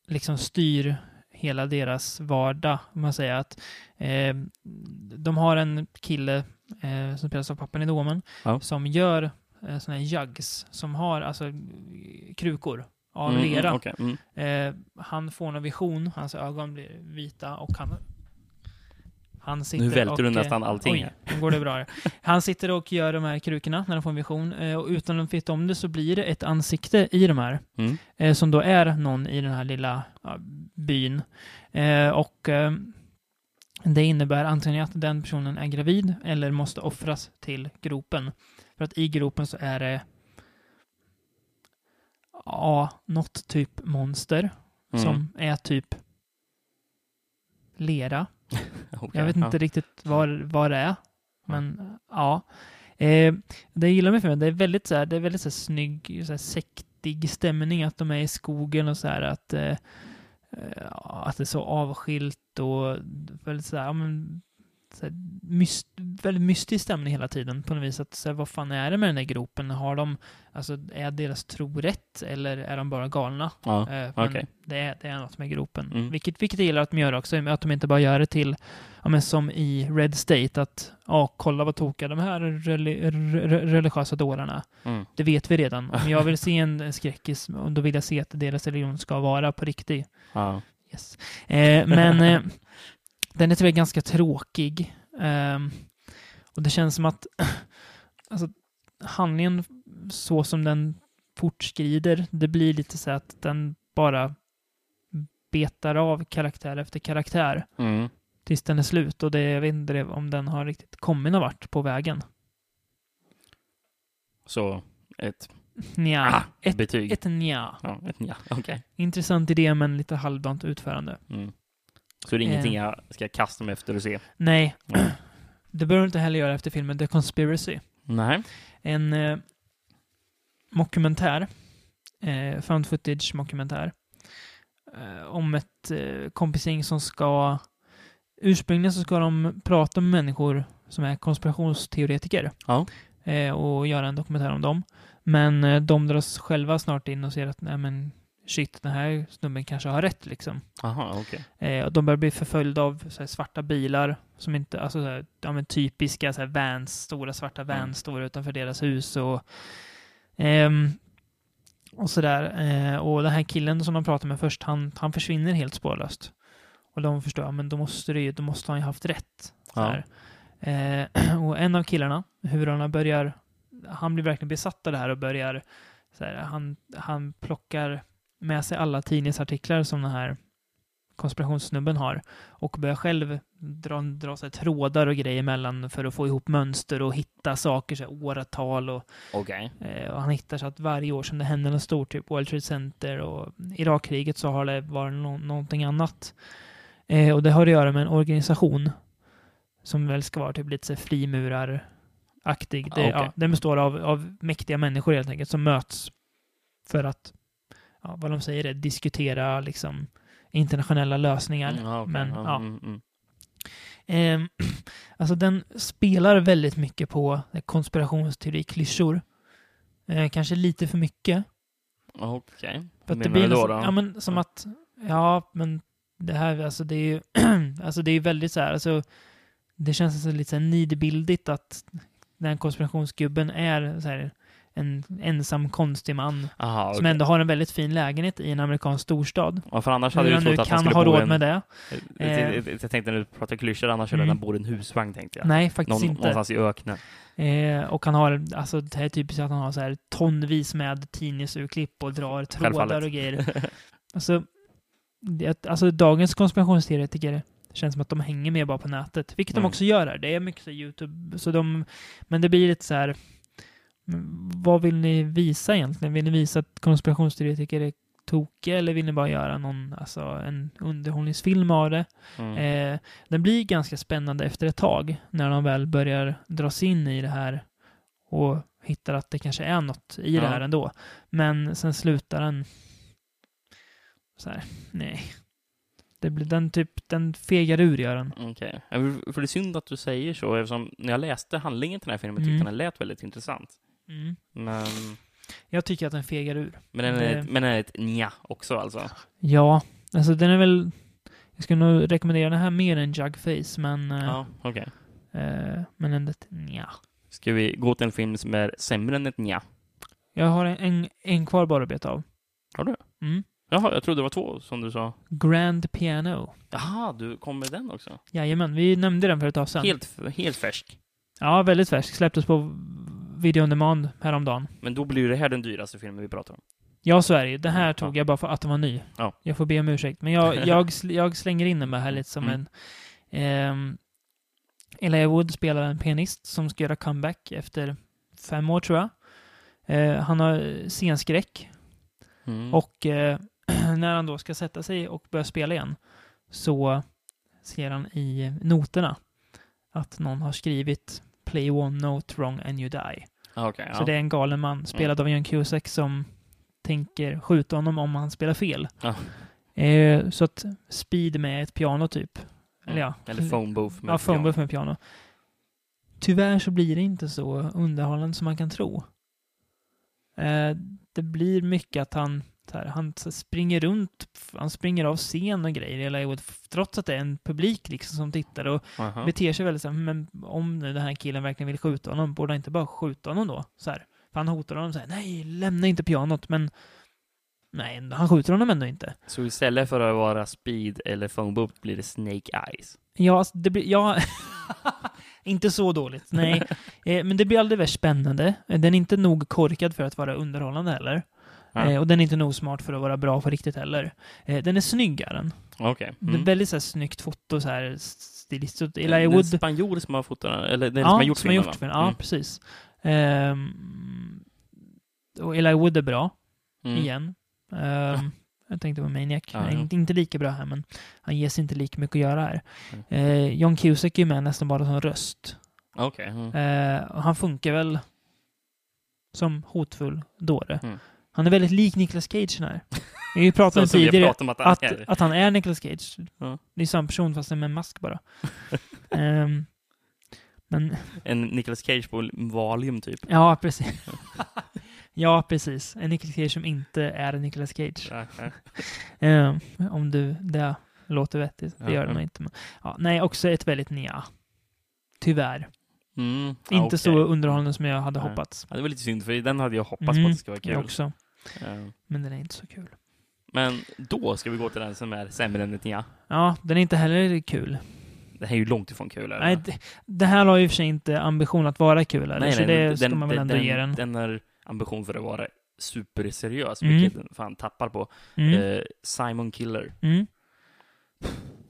liksom styr hela deras vardag. om Man säger att eh, de har en kille eh, som spelas av pappan i Domen Ja. som gör eh, sådana här jugs som har alltså eh, krukor av Mm, lera. mm, okej, mm. Eh, han får en vision, hans ögon blir vita och han... Han sitter Nu välter och, du eh, nästan allting Oj, här. nu går det bra. här. Han sitter och gör de här krukorna när han får en vision. Eh, och utan att veta om det så blir det ett ansikte i de här. Mm. Eh, som då är någon i den här lilla ja, byn. Eh, och eh, det innebär antingen att den personen är gravid eller måste offras till gropen. För att i gropen så är det ja, något typ monster Mm. som är typ lera. Okej, Jag vet ja. Mm. inte riktigt vad, vad det är. Men ja. Eh, det jag gillar med filmen, det är väldigt så här, det är väldigt så här snygg, så här sektig stämning att de är i skogen och så här att, eh, eh, att det är så avskilt och väldigt så här, ja, men, så här myst, väldigt mystisk stämning hela tiden på något vis. Att, så här, vad fan är det med den där gropen? Har de, alltså, är deras tro rätt eller är de bara galna? Ja. Eh, men Okej. det, är, det är något med gropen. Mm. Vilket, vilket jag gillar att de gör också, att de inte bara gör det till, ja, men som i Red State, att ja, kolla vad tokiga de här reli- re- re- religiösa dårarna är. Mm. Det vet vi redan. <laughs> Om jag vill se en en skräckis, då vill jag se att deras religion ska vara på riktigt. Ja. Yes. Eh, men eh, den är tyvärr ganska tråkig. Ehm, och det känns som att <clears throat> alltså, handlingen så som den fortskrider, det blir lite så att den bara betar av karaktär efter karaktär Mm. tills den är slut. Och det, jag vet inte det- om den har riktigt kommit någon vart på vägen. Så ett Nja, ah, ett, betyg. ett nja. Ja, ett ja. Okej. Intressant idé men lite halvdant utförande. Mm. Så det är ingenting Eh. jag ska kasta mig efter <clears throat> och se? Mm. Nej, Ja. det bör du inte heller göra efter filmen The Conspiracy. Nej. en eh, mockumentär, eh, found footage mockumentär, eh, om ett eh, kompisgäng som ska... Ursprungligen så ska de prata med människor som är konspirationsteoretiker Ja. eh, och göra en dokumentär om dem. Men eh, de dras själva snart in och ser att nej men shit, den här snubben kanske har rätt liksom. Jaha, okej. Eh, och de börjar bli förföljda av så här, svarta bilar som inte, alltså så här, ja, men typiska så här, vans, stora svarta vans Mm. står utanför deras hus och ehm, och sådär. Eh, och den här killen som de pratar med först, han, han försvinner helt spårlöst. Och de förstår, ja, men då måste, det ju, då måste han ju haft rätt. Så Ja. här. Eh, <clears throat> och en av killarna, huvudrollerna, börjar, han blir verkligen besatt av det här och börjar, så här, han, han plockar med sig alla tidningsartiklar som den här konspirationssnubben har och börjar själv dra, dra så här, trådar och grejer mellan för att få ihop mönster och hitta saker, så här, åratal och Okej. Eh, och han hittar så att varje år som det händer något stort, typ World Trade Center och Irakkriget, så har det varit nå- någonting annat. Eh, och det har att göra med en organisation som väl ska vara typ lite så här frimurar-aktig. Det, Ah, okej. ja, den består av, av mäktiga människor helt enkelt som möts för att, ja, vad de säger är diskutera liksom internationella lösningar. Mm, ja, okej. men, ja. Mm, mm. Ehm, <clears throat> alltså den spelar väldigt mycket på konspirationsteori-klyschor. Eh, kanske lite för mycket. Okej. För att Menar det blir du då? nästan- då? Ja, men som Ja. att... Ja, men det här, alltså det är ju... <clears throat> alltså det är ju väldigt så här, alltså... Det känns alltså lite så här nidbildigt att den här konspirationsgubben är så här en ensam konstig man Aha, som okej. ändå har en väldigt fin lägenhet i en amerikansk storstad. ja, för annars hade Hur jag han ju nu trott att han kan skulle ha bo råd en... Eh, med det. Eh. Jag, jag, jag tänkte när du pratade klyschor, annars hade Mm. han bor i en husvagn tänkte jag. Nej, faktiskt Någon, inte. någonstans i öknen. Eh, och han har, alltså det här är typiskt att han har så här tonvis med tidningsurklipp och drar trådar Självfallet. och grejer. Alltså, det, alltså dagens konspirationsteoretiker känns som att de hänger med bara på nätet, vilket de Mm. också gör här. Det är mycket så här YouTube, så de, men det blir lite så här, mm, vad vill ni visa egentligen? Vill ni visa att konspirationsteoretiker är tokiga eller vill ni bara göra någon, alltså en underhållningsfilm av det? <laughs> Mm. Eh, den blir ganska spännande efter ett tag när de väl börjar dras in i det här och hittar att det kanske är något i det Ja. här ändå. Men sen slutar den så här, nej. Det blir den typ, den fegar ur gör den. Okej. Ja, För för det är synd att du säger så, eftersom när jag läste handlingen till den här filmen tyckte Mm. jag den lät väldigt intressant. Mm. Men, Jag tycker att den fegar ur. men, den, är, Det- ett- men den är ett nja också alltså. Ja, alltså den är väl... Jag skulle nog rekommendera den här mer än Jugface, men... eh, Ja, okej. eh, men ändå ett nja. Ska vi gå till en film som är sämre än ett nja? Jag har en, en, en kvar bara att beta av. Har du? Mm. Jaha, jag trodde det var två som du sa. Grand Piano. Jaha, du kom med den också? Jajamän, vi nämnde den för ett tag sedan. Helt, helt färsk. Ja, väldigt färsk. Släpptes på video on demand häromdagen. Men då blir det här den dyraste filmen vi pratar om. Ja, så är det ju. Den här Ja. tog jag bara för att den var ny. Ja. Jag får be om ursäkt. Men <laughs> jag, jag, sl- jag slänger in den bara här lite som Mm. en... ehm, Elijah Wood spelar en pianist som ska göra comeback efter fem år, tror jag. Eh, han har scenskräck Mm. och eh, <clears throat> när han då ska sätta sig och börja spela igen så ser han i noterna att någon har skrivit Play one note wrong and you die. Ah, okej, ja. Mm. Så det är en galen man, spelad av John Cusack, som tänker skjuta honom om han spelar fel. Ja. Eh, så att speed med ett piano typ. Eller ja, Mm. Eller phone booth med ja piano. phone booth med piano. Tyvärr så blir det inte så underhållande som man kan tro. Eh, det blir mycket att han, så här, han så springer runt, f- han springer av scen och grejer, eller, och f- trots att det är en publik liksom som tittar och Aha. beter sig väldigt så här, men om nu den här killen verkligen vill skjuta honom, borde han inte bara skjuta honom då? Så här. För han hotar honom så här, nej, lämna inte pianot, men nej, han skjuter honom ändå inte. Så istället för att vara speed eller phone booth blir det snake eyes. Ja, alltså, det blir, ja, <laughs> inte så dåligt, <laughs> nej. Eh, men det blir aldrig värst spännande. Eh, Den är inte nog korkad för att vara underhållande heller. Ja. Eh, och den är inte nog smart för att vara bra på riktigt heller. Eh, den är snyggare. Mm. Okej. Det är väldigt så här, snyggt foto, så här stilistiskt. Det är Elijah en Wood Eh, spanjor som har fotat den, eller den som har gjort som har gjort filmen va? filmen. Ja, Mm. precis. Ehm, och Eli Wood är bra, Mm. igen. Ehm, jag tänkte på Maniac. Ja, ja. Inte, inte lika bra här, men han ges inte lika mycket att göra här. Mm. Eh, John Cusack är ju med nästan bara som röst. Okej. Mm. Eh, och han funkar väl som hotfull dåre. Mm. Han är väldigt lik Nicolas Cage <laughs> här. Vi har ju pratat Så om som vi tidigare pratade om att han att, är. att han är Nicolas Cage. Ja. Det är samma person fast med en mask <laughs> bara. Ehm, men En Nicolas Cage på Valium typ. Ja, precis. <laughs> ja, precis. En Nicolas Cage som inte är en Nicolas Cage. Ja, ja. Eh, om du, det låter vettigt. Det Ja, gör det mm. nog inte. Men, ja, nej, också ett väldigt nja. Tyvärr. Mm. Ja, inte okej. så underhållande som jag hade Nej. hoppats. Ja, det var lite synd, för den hade jag hoppats på Mm, att det skulle vara kul. Jag också. Eh, Men den är inte så kul. Men då ska vi gå till den som är sämre än ett nja. Ja, den är inte heller kul. Det här är ju långt ifrån kul. eller? Nej, det, det här har ju i och för sig inte ambition att vara kul. Eller? Nej, så nej, det den- ska man väl den- ändå ge den. Den har ambition för att vara superseriös, Mm. vilket den eh, fan tappar på. Mm. Eh, Simon Killer, Mm.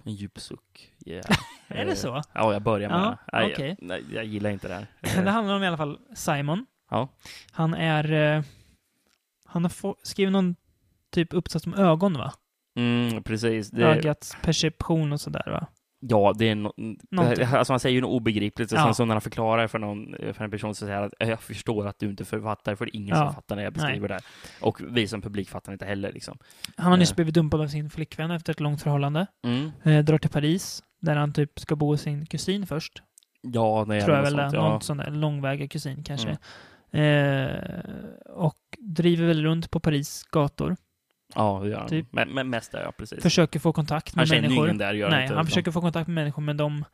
en djup suck. Yeah. <laughs> Är det Eh, så? Ja, jag börjar med Ja, det. Nej, jag- okej. nej, jag gillar <laughs> inte det här. Det handlar om i alla fall Simon. Ja. Han är... eh, Han har få, skrivit någon typ uppsats om ögon, va? Mm, precis. Det, Ögats perception och sådär, va? ja, det är no, det, Någonting. här- alltså han säger ju något obegripligt och Ja. sen så när han förklarar för, någon, för en person så säger han att "Eh, jag förstår att du inte författar, för det är ingen Ja. som fattar när jag beskriver det här. Och vi som publik fattar inte heller liksom. Han har nyss Eh. blivit dumpad av sin flickvän efter ett långt förhållande. Mm. Eh, drar till Paris, där han typ ska bo hos sin kusin först. Ja, nej, tror jag något väl sånt, det. ja. Mm. Någon sån där långväga kusin kanske. Eh, och driver väl runt på Paris gator. Ja, det gör han. Typ. Men, men mest där, ja, precis. Försöker få kontakt med han känner ju människor. ingen där, gör Nej, inte, han utan- försöker få kontakt med människor, men de...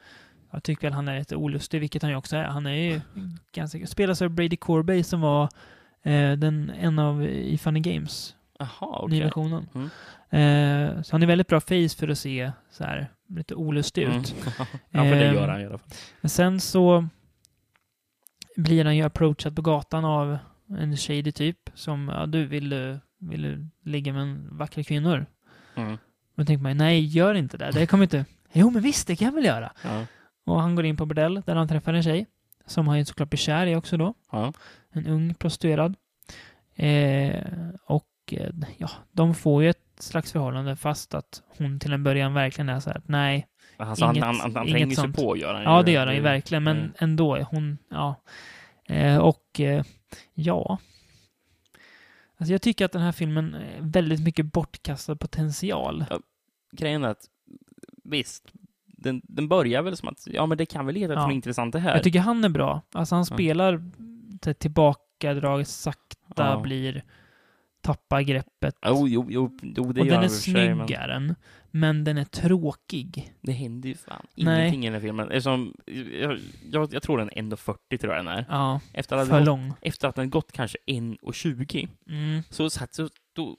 Jag tycker väl han är lite olustig, vilket han ju också är. Han är ju ganska... Spelas av Brady Corbey som var eh, den, en av i Funny Games, Jaha, okay. okej. nyversionen. Mm. Eh, så han är väldigt bra face för att se så här lite olustig Mm. <laughs> ut. ja, för det Ehm, gör han i alla fall. Men sen så blir han ju approachad på gatan av en shady typ som, ja du, vill, du- vill du ligga med en vackra kvinnor? Mm. Då tänker man ju, nej, gör inte det. Det kommer inte... Jo, men visst, det kan jag väl göra. Ja. Och han går in på bordell där han träffar en tjej. Som han ju såklart blir kär i också då. <laughs> Ja. En ung prostituerad. Eh, och eh, ja, de får ju ett slags förhållande fast att hon till en början verkligen är så här att nej. Alltså, han, Inget- han, Mm. han, han inget tränger sig sånt. på, gör han Ja, det gör han ju Det- verkligen men Mm. ändå är hon, ja. Eh, och eh, ja, alltså jag tycker att den här filmen är väldigt mycket bortkastad potential. Grejen är att, visst, den, den börjar väl som att, ja men det kan väl leda till Ja. något intressant det här. Jag tycker han är bra. Alltså han Ja. spelar det tillbakadraget sakta, Ja. blir, tappar greppet. Jo, jo, jo, jo det och gör den är i och för sig, snygg men- är den, men den är tråkig. Det händer ju fan Nej. ingenting i den här filmen. Eftersom, jag, jag, jag tror den är 1.40 tror jag den är. Ja, Efter att, för den gått, lång. efter att den gått kanske 1.20 Mm. så satt så, då,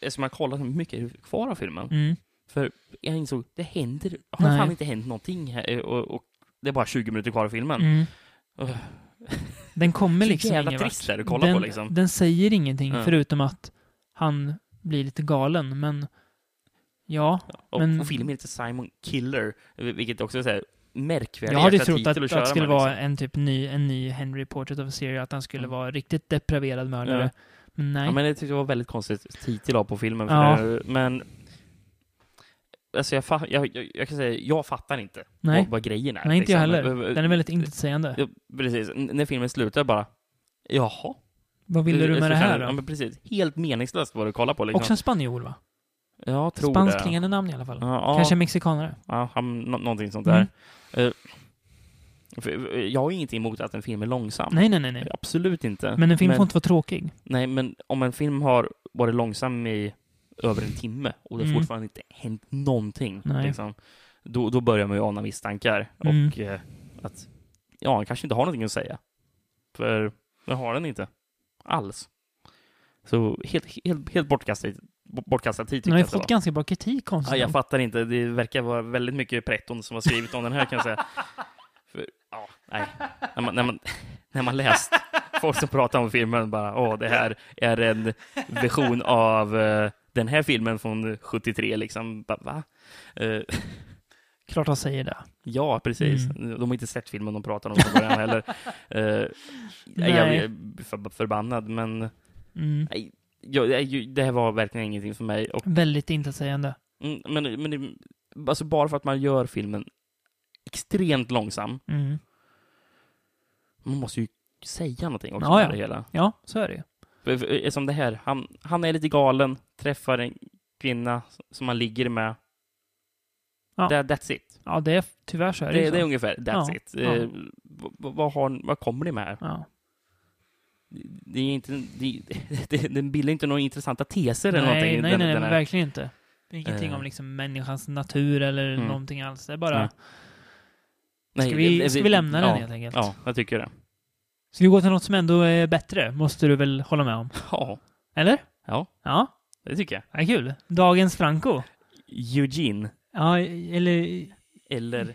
eftersom jag kollat hur mycket är kvar av filmen. Mm. För jag insåg, det händer, har Nej. fan inte hänt någonting här och, och det är bara 20 minuter kvar av filmen. Mm. Ugh. Den kommer Så liksom jävla ingen vart. trist är det att kolla den, på, liksom. Den säger ingenting Ja. förutom att han blir lite galen, men ja. Och, Men- och filmen heter Simon Killer, vilket också är så här märkvärdig Jag hade jäkla trott att, titel att köra det skulle med, liksom. vara en typ ny, en ny Henry Portrait of a Serial, att han skulle Mm. vara riktigt depraverad mördare. Ja. Men nej. Ja, men det tyckte jag var väldigt konstigt titel av på filmen. För Ja. det, men... Alltså jag, fa- jag, jag, jag kan säga, jag fattar inte nej. Vad, vad grejen är. Nej, inte jag heller. Eh, Den är väldigt intetsägande. Ja, precis. N- när filmen slutar bara, jaha? Vad ville du Så med det känner här jag, då? Ja, men precis. Helt meningslöst vad du kollar på liksom. Också en spanjor va? Ja, tror det. Spansklingande namn i alla fall. Ja, ja, Kanske mexikanare. Ja, han, nå- någonting sånt där. Mm. Eh, för- eh, jag har ju ingenting emot att en film är långsam. Nej, nej, nej. nej. Absolut inte. Men en film får inte vara tråkig. Nej, men om en film har varit långsam i över en timme och det Mm. fortfarande inte hänt någonting, Nej. liksom, då, då börjar man ju ana misstankar. Mm. Och eh, att, ja, han kanske inte har någonting att säga. För det har den inte. Alls. Så helt, helt, helt bortkastad, bortkastad tid Den tycker har ju jag att det fått var. ganska bra kritik Ja, konstigt jag nog. fattar inte. Det verkar vara väldigt mycket pretton som har skrivit om den här kan jag säga. För, ja, nej. När man, när man, <laughs> när man läst folk som pratar om filmen bara, åh, det här är en version av eh, den här filmen från 73 liksom. Bara, Va? Eh, Klart han säger det. ja, precis. De har inte sett filmen de pratar om från början heller. Eh, jag Nej. blir för, förbannad, men Mm. jag, jag, det här var verkligen ingenting för mig. Och Väldigt intetsägande. Mm, men, men det- alltså bara för att man gör filmen extremt långsam, Mm. man måste ju säga någonting också. Ja, med ja. Det hela. Ja, så är det ju. För- för- Som det här, han, han är lite galen, träffar en kvinna som han ligger med. Ja. That, that's it. Ja, det är, tyvärr så är det, Det, ju så. det är ungefär that's Ja, it. ja. Eh, vad- vad, har, vad kommer det med? här? ja. Det är inte, det, <laughs> det, den bildar inte några intressanta teser eller Nej, någonting. nej, den, nej, den men här. verkligen inte. Ingenting Eh. om liksom människans natur eller Mm. någonting alls. Det är bara... Nej. Nej, Ska vi, det- ska vi lämna ja, den helt enkelt? Ja, jag tycker det. <laughs> Ska vi gå till något som ändå är bättre? Måste du väl hålla med om? Ja, Eller? Ja. Ja, det tycker jag. det är kul. Dagens Franco. Eugene, Ja, eller eller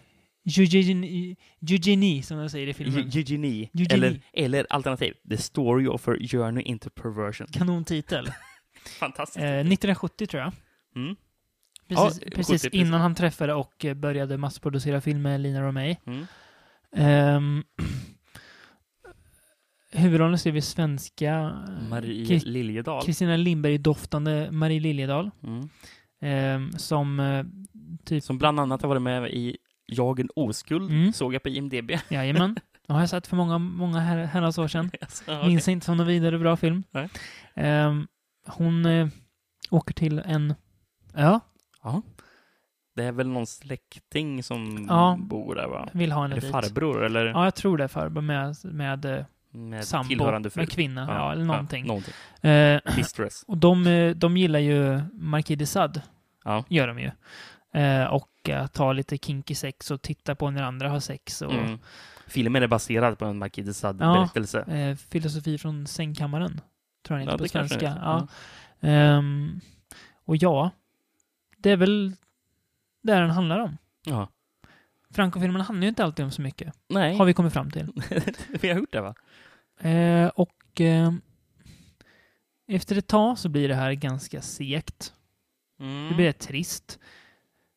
Eugenie, Eugenie som de säger i filmen. Eugenie. Eugenie. Eugenie. Eller, eller alternativ, The Story of Her Journey <laughs> into Perversion. Kanontitel. Fantastiskt. Eh, 1970 tror jag. Mm. Precis, Ja, precis 70, innan han träffade och eh, började massproducera film med Lina Romay. Mm. Um, <clears throat> huvudrollen ser vi svenska eh, Marie Kri- Liljedahl. Kristina Lindberg-doftande Marie Liljedahl. Mm. ehm, som, eh, typ, Som bland annat har varit med i Jag en oskuld, Mm. såg jag på IMDB. <laughs> jajamän. Den har jag sett för många, många her- herrans år sedan. Alltså, okej. Minns inte som någon vidare bra film. Nej. Ehm, hon eh, åker till en ö, Ja. Det är väl någon släkting som Ja. bor där va? vill ha Är henne det dit. farbror eller Ja, jag tror det är farbror med, med, eh, med sambo, tillhörande fru? med kvinna, ja, eller någonting. Ja, någonting. Eh, Mistress. Och de, eh, de gillar ju Marquis de Sade. <laughs> Ja. Gör de ju. Eh, och eh, tar lite kinky sex och tittar på när andra har sex. Och, Mm. Filmen är baserad på en Marquis de Ja. Sade-berättelse. eh, filosofi från sängkammaren. Tror jag inte på det kanske Mm. svenska. är. Ja. Ehm, och ja, det är väl det den handlar om. ja. Franco-filmerna handlar ju inte alltid om så mycket. Nej, Har vi kommit fram till. <laughs> vi har gjort det va? Eh, och eh, efter ett tag så blir det här ganska segt. Mm. Det blir rätt trist.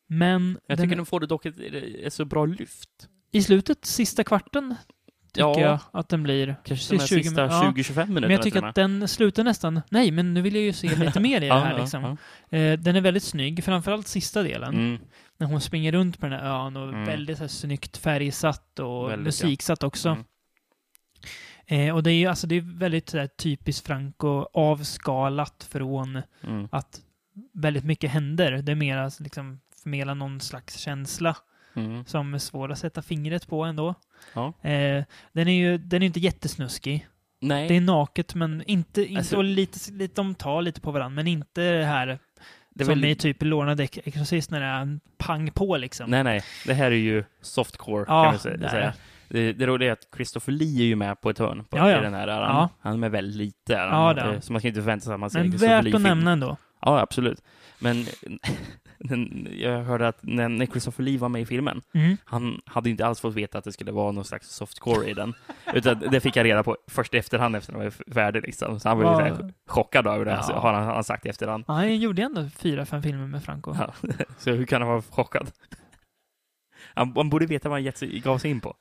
Men Jag den- tycker den får det dock ett, ett så bra lyft. i slutet, sista kvarten, tycker Ja. jag att den blir. Kanske de här 20 sista min- ja. 20-25 minuterna Men jag tycker till att och den slutar nästan, nej men nu vill jag ju <laughs> se lite mer i det med. här liksom. Eh, den är väldigt snygg, framförallt sista delen. Mm. När hon springer runt på den här ön och Mm. väldigt så här, snyggt färgsatt och Väldigt, ja. musiksatt också. Mm. Eh, och det är ju alltså, det är väldigt så här, typiskt Franco, avskalat från Mm. att väldigt mycket händer. Det är mer att liksom, förmedla någon slags känsla Mm. som är svår att sätta fingret på ändå. Ja. Eh, den är ju den är inte jättesnuskig. Nej. Det är naket, men inte, inte Alltså- och lite, lite, de tar lite på varandra, men inte det här Det är som väl- i typ Lorna Deck Exorcist när det är en pang på liksom. Nej, nej. Det här är ju softcore, Ja, kan vi sä- det är säga. Det, det roliga är att Christopher Lee är ju med på ett hörn på Ja, ja. i den här. Han, Ja. han är med väldigt lite. är Ja, Han, det är han. eh, så man kan inte förvänta sig att man ser en men Christopher värt att Lee-film. nämna ändå. Ja, absolut. Men <laughs> den, jag hörde att när, när Christopher Lee var med i filmen, Mm. han hade inte alls fått veta att det skulle vara någon slags softcore i den. Utan det fick jag reda på först i efterhand efter den var färdig. Liksom. Så han var ju Vad- lite chockad över det, alltså, Ja. har han, har han sagt i efterhand. Ja, han gjorde ändå fyra, fem filmer med Franco. Ja, Ja. Så hur kan han vara chockad? Han, han borde veta vad han gett sig, gav sig in på.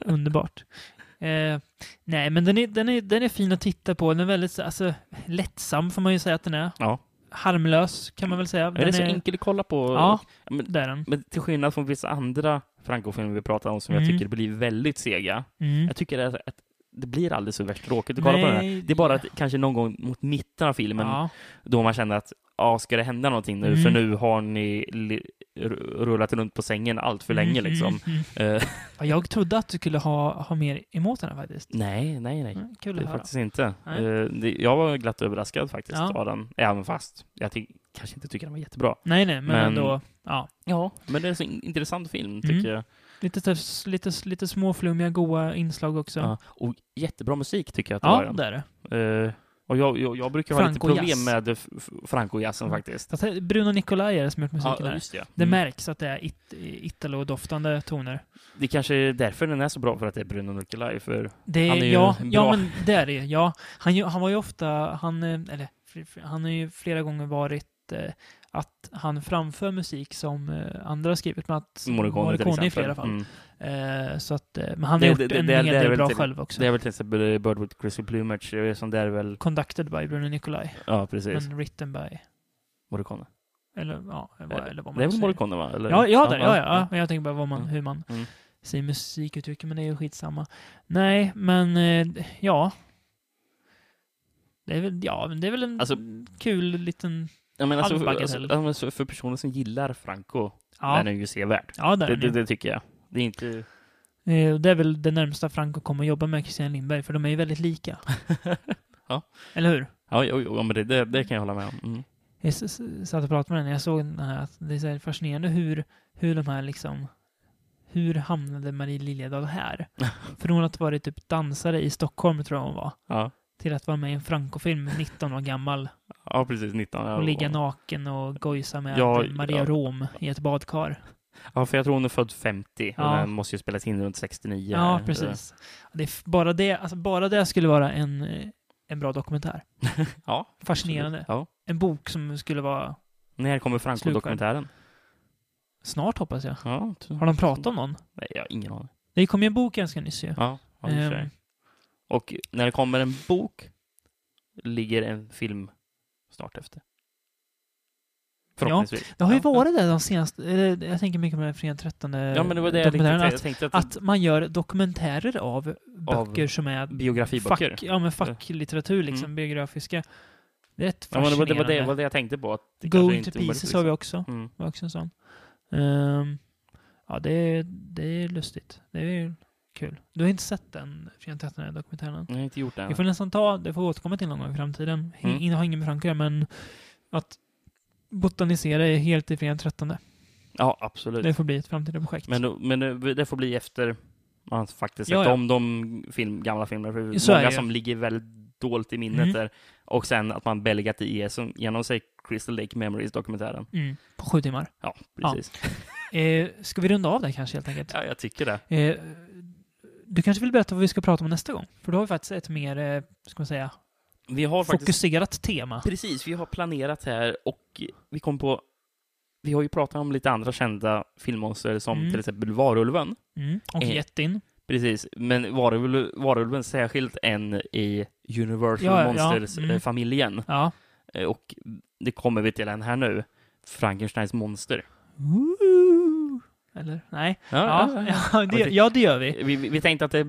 underbart. Eh, nej, men den är, den, är, den är fin att titta på. Den är väldigt alltså, lättsam, får man ju säga att den är. Ja. Harmlös, kan man väl säga. Men Den det är så enkel att kolla på. Ja, Men, det är den. men till skillnad från vissa andra Franco-filmer vi pratar om som Mm. jag tycker blir väldigt sega. Mm. Jag tycker att, att det blir aldrig så värst tråkigt att kolla på den Nej. här. Det är bara att kanske någon gång mot mitten av filmen ja. då man känner att ja, ska det hända någonting nu? Mm. För nu har ni li- r- rullat runt på sängen allt för länge Mm, liksom. mm, mm. Eh, <laughs> Ja, Jag trodde att du skulle ha, ha mer emot den här faktiskt. nej, nej, nej. Mm, kul Det att är höra. faktiskt inte. Nej. Eh, det, jag var glatt överraskad faktiskt Ja. av den, även fast jag ty- kanske inte tycker den var jättebra. Nej, nej, men, Men- ändå. Ja. Ja, men det är en så in- intressant film Mm. tycker jag. Lite, så- lite, lite småflummiga, goa inslag också. Ja. Och jättebra musik tycker jag att det var i Ja, den. det är det. Eh, och jag, jag, jag brukar ha lite Franco-jazz. problem med f- f- Franco-jazzen Mm. faktiskt. Fast här- Bruno Nicolai är det som gjort musiken här. just det. Det Mm. märks att det är it, Italo-doftande toner. Det kanske är därför den är så bra, för att det är Bruno Nuckelai. För... Det, Han är ju ja, bra. ja, men det är det ju. Ja. Han, ju- han var ju ofta, han, eh, eller fr- fr- han har ju flera gånger varit eh, att han framför musik som eh, andra har skrivit, men att Morricone, till exempel. i flera fall. Mm. Eh, så att, eh, men han Det- har gjort det- det- en det är- hel det är del väl bra till- själv också. Det är väl till exempel Bird with Grizzly Plumage, eh, som det är väl... Conducted by Bruno Nicolai, Ja, precis. men written by, Morricone. eller ja, vad, eller vad man Eh, det är nu väl säger. Morricone, va? Eller? Ja, ja, där, ja, ja, ja. Men jag tänker bara vad man, Mm. hur man Mm. säger musikuttryck, men det är ju skitsamma. Nej, men eh, ja. Det är väl, ja, men det är väl en Alltså- kul liten... Ja, men alltså, för, Halvbaggen alltså, heller. ja, men så för personer som gillar Franco Ja, Mm. är den ju sevärd. ja där Det, är det, det, Eh, det tycker jag. Det <laughs> är inte... det är väl det närmsta Franco kommer att jobba med Christian Lindberg, för de är ju väldigt lika. Ja. Eller hur? Ja, jo, jo, men det, det, det kan jag hålla med om. Mm. Jag s- s- satt och pratade med den när jag såg den här, att det är så här fascinerande hur, hur de här liksom hur hamnade Marie Liljedahl <laughs> här? För hon har varit typ dansare i Stockholm, tror jag hon var. Ja. till att vara med i en Francofilm 19 år gammal ja, precis. 19. ja, och ligga naken och gojsa med Ja, Maria ja. Rom i ett badkar. Ja, för jag tror hon är född 50. Ja. Och den måste ju spelas in runt 69. Ja, precis. Det är f- bara, det, alltså bara det skulle vara en, eh, en bra dokumentär. <laughs> Ja, Fascinerande. Ja. En bok som skulle vara När kommer Franco-dokumentären? snart, hoppas jag. Ja, Har de pratat om någon? Nej, jag har ingen aning. Det kom ju en bok ganska nyss ju. Ja, ja, i och för sig. Ehm, Och när det kommer en bok ligger en film snart efter. Förhoppningsvis. det har ju varit det de senaste... eller, Jag tänker mycket på den här fredag 13 Ja, men det var det jag tänkte. dokumentären, Jag tänkte att, Att, att man gör dokumentärer av böcker som är biografiböcker. Fack, ja, men facklitteratur liksom, Mm. biografiska. Det är rätt ja, men det, var, det, fascinerande. var det, var det jag tänkte på. Att det kanske Going inte to är omöjligt, pieces har vi också. Mm. Var också en sån. Ehm, ja, det är, det är lustigt. Det är kul. Du har inte sett den Fria Tätterna dokumentären än? Jag har inte gjort det än. Vi får nästan ta, det får vi återkomma till någon gång i framtiden. Mm. Mm. har ingen med Frankrike, men att botanisera är helt i Fria 13. Ja, absolut. Det får bli ett framtida projekt. Men, då- men det- det får bli efter man faktiskt sett Ja, ja. om de film, gamla filmerna. För Så är många det ju. som ligger väldigt dolt i minnet Mm. där. Och sen att man belgat i som, genom sig Crystal Lake Memories-dokumentären. mm, på sju timmar. Ja, Ja. precis. Eh, ska vi runda av där kanske helt enkelt? Ja. jag tycker det. Eh, du kanske vill berätta vad vi ska prata om nästa gång? För då har vi faktiskt ett mer, eh, ska man säga, Vi har faktiskt... fokuserat tema. Precis, vi har planerat här och vi kom på... Vi har ju pratat om lite andra kända filmmonster som Mm. till exempel Varulven. Mm. Och Eh, jättin. Precis, men Varulv, Varulven särskilt en i Universal Ja, ja, ja. Mm. Monsters-familjen. Ja. Eh, Och det kommer vi till en här nu. Frankensteins monster. Ooh. Eller? Nej. Ja, ja, det, ja, det gör vi. Vi, vi vi tänkte att det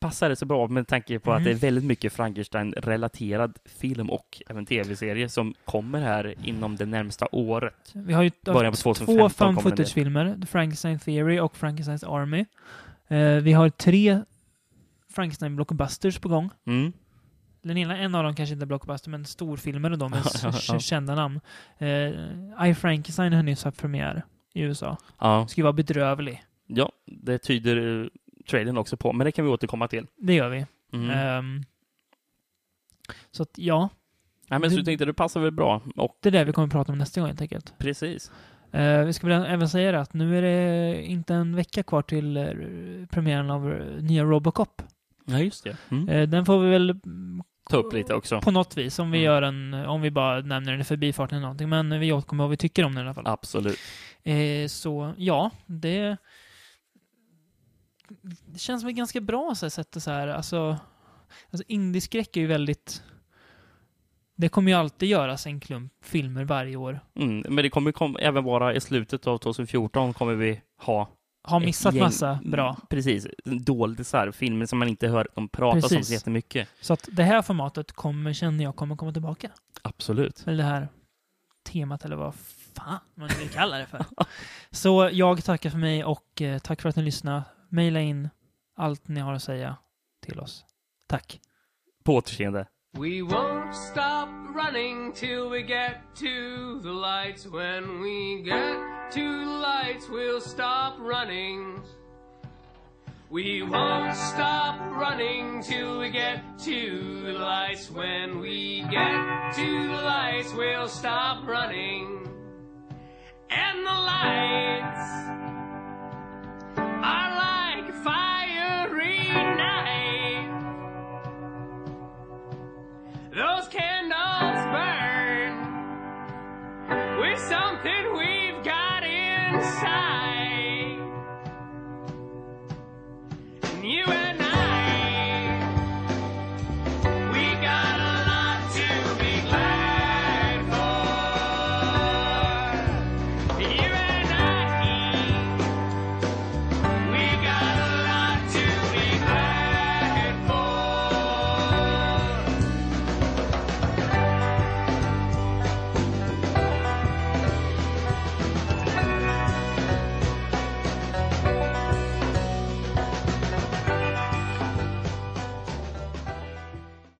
passar det så bra med tanke på att Mhm. det är väldigt mycket Frankenstein-relaterad film och även tv-serie som kommer här inom det närmsta året. Vi har ju Början på haft två 2015 found kommer den ut. footage-filmer, The Frankenstein Theory och Frankensteins Army. Eh, vi har tre Frankenstein-blockbusters på gång. Mm. Den ena, en av dem kanske inte är blockbuster, men storfilmer och de <laughs> med s- Ja, ja, ja. s- kända namn. Eh, I Frankenstein har nyss haft premiär i USA. Ja. Ska ju vara bedrövlig. ja, det tyder eh, trailern också på, men det kan vi återkomma till. Det gör vi. Mm. Ehm, så att ja, Nej, men så det- jag tänkte det passar väl bra. Och det är det vi kommer att prata om nästa gång helt enkelt. precis. Eh, vi ska väl även säga det att nu är det inte en vecka kvar till eh, premiären av eh, nya Robocop. Ja, just det. Mm. Eh, den får vi väl mm, Ta upp lite också. på något vis om vi Mm. gör en, om vi bara nämner den i förbifarten eller någonting. Men vi återkommer vad vi tycker om den i alla fall. Absolut. Eh, så ja, det, det känns som ett ganska bra så här, sätt att så här, alltså, alltså indieskräck är ju väldigt det kommer ju alltid göras en klump filmer varje år. Mm. Men det kommer kom, även vara i slutet av 2014 kommer vi ha Har ett missat gäng- Mm, massa bra. Precis. Doldisar, filmer som man inte hör dem prata om Precis. så jättemycket. Så att det här formatet kommer, känner jag kommer komma tillbaka. Absolut. Eller det här temat eller vad fan man vill kalla det <laughs> för. Så jag tackar för mig och eh, tack för att ni lyssnade. Maila in allt ni har att säga till oss. Tack. På återseende. We won't stop running till we get to the lights. When we get to the lights, we'll stop running. We won't stop running till we get to the lights. When we get to the lights, we'll stop running. And the lights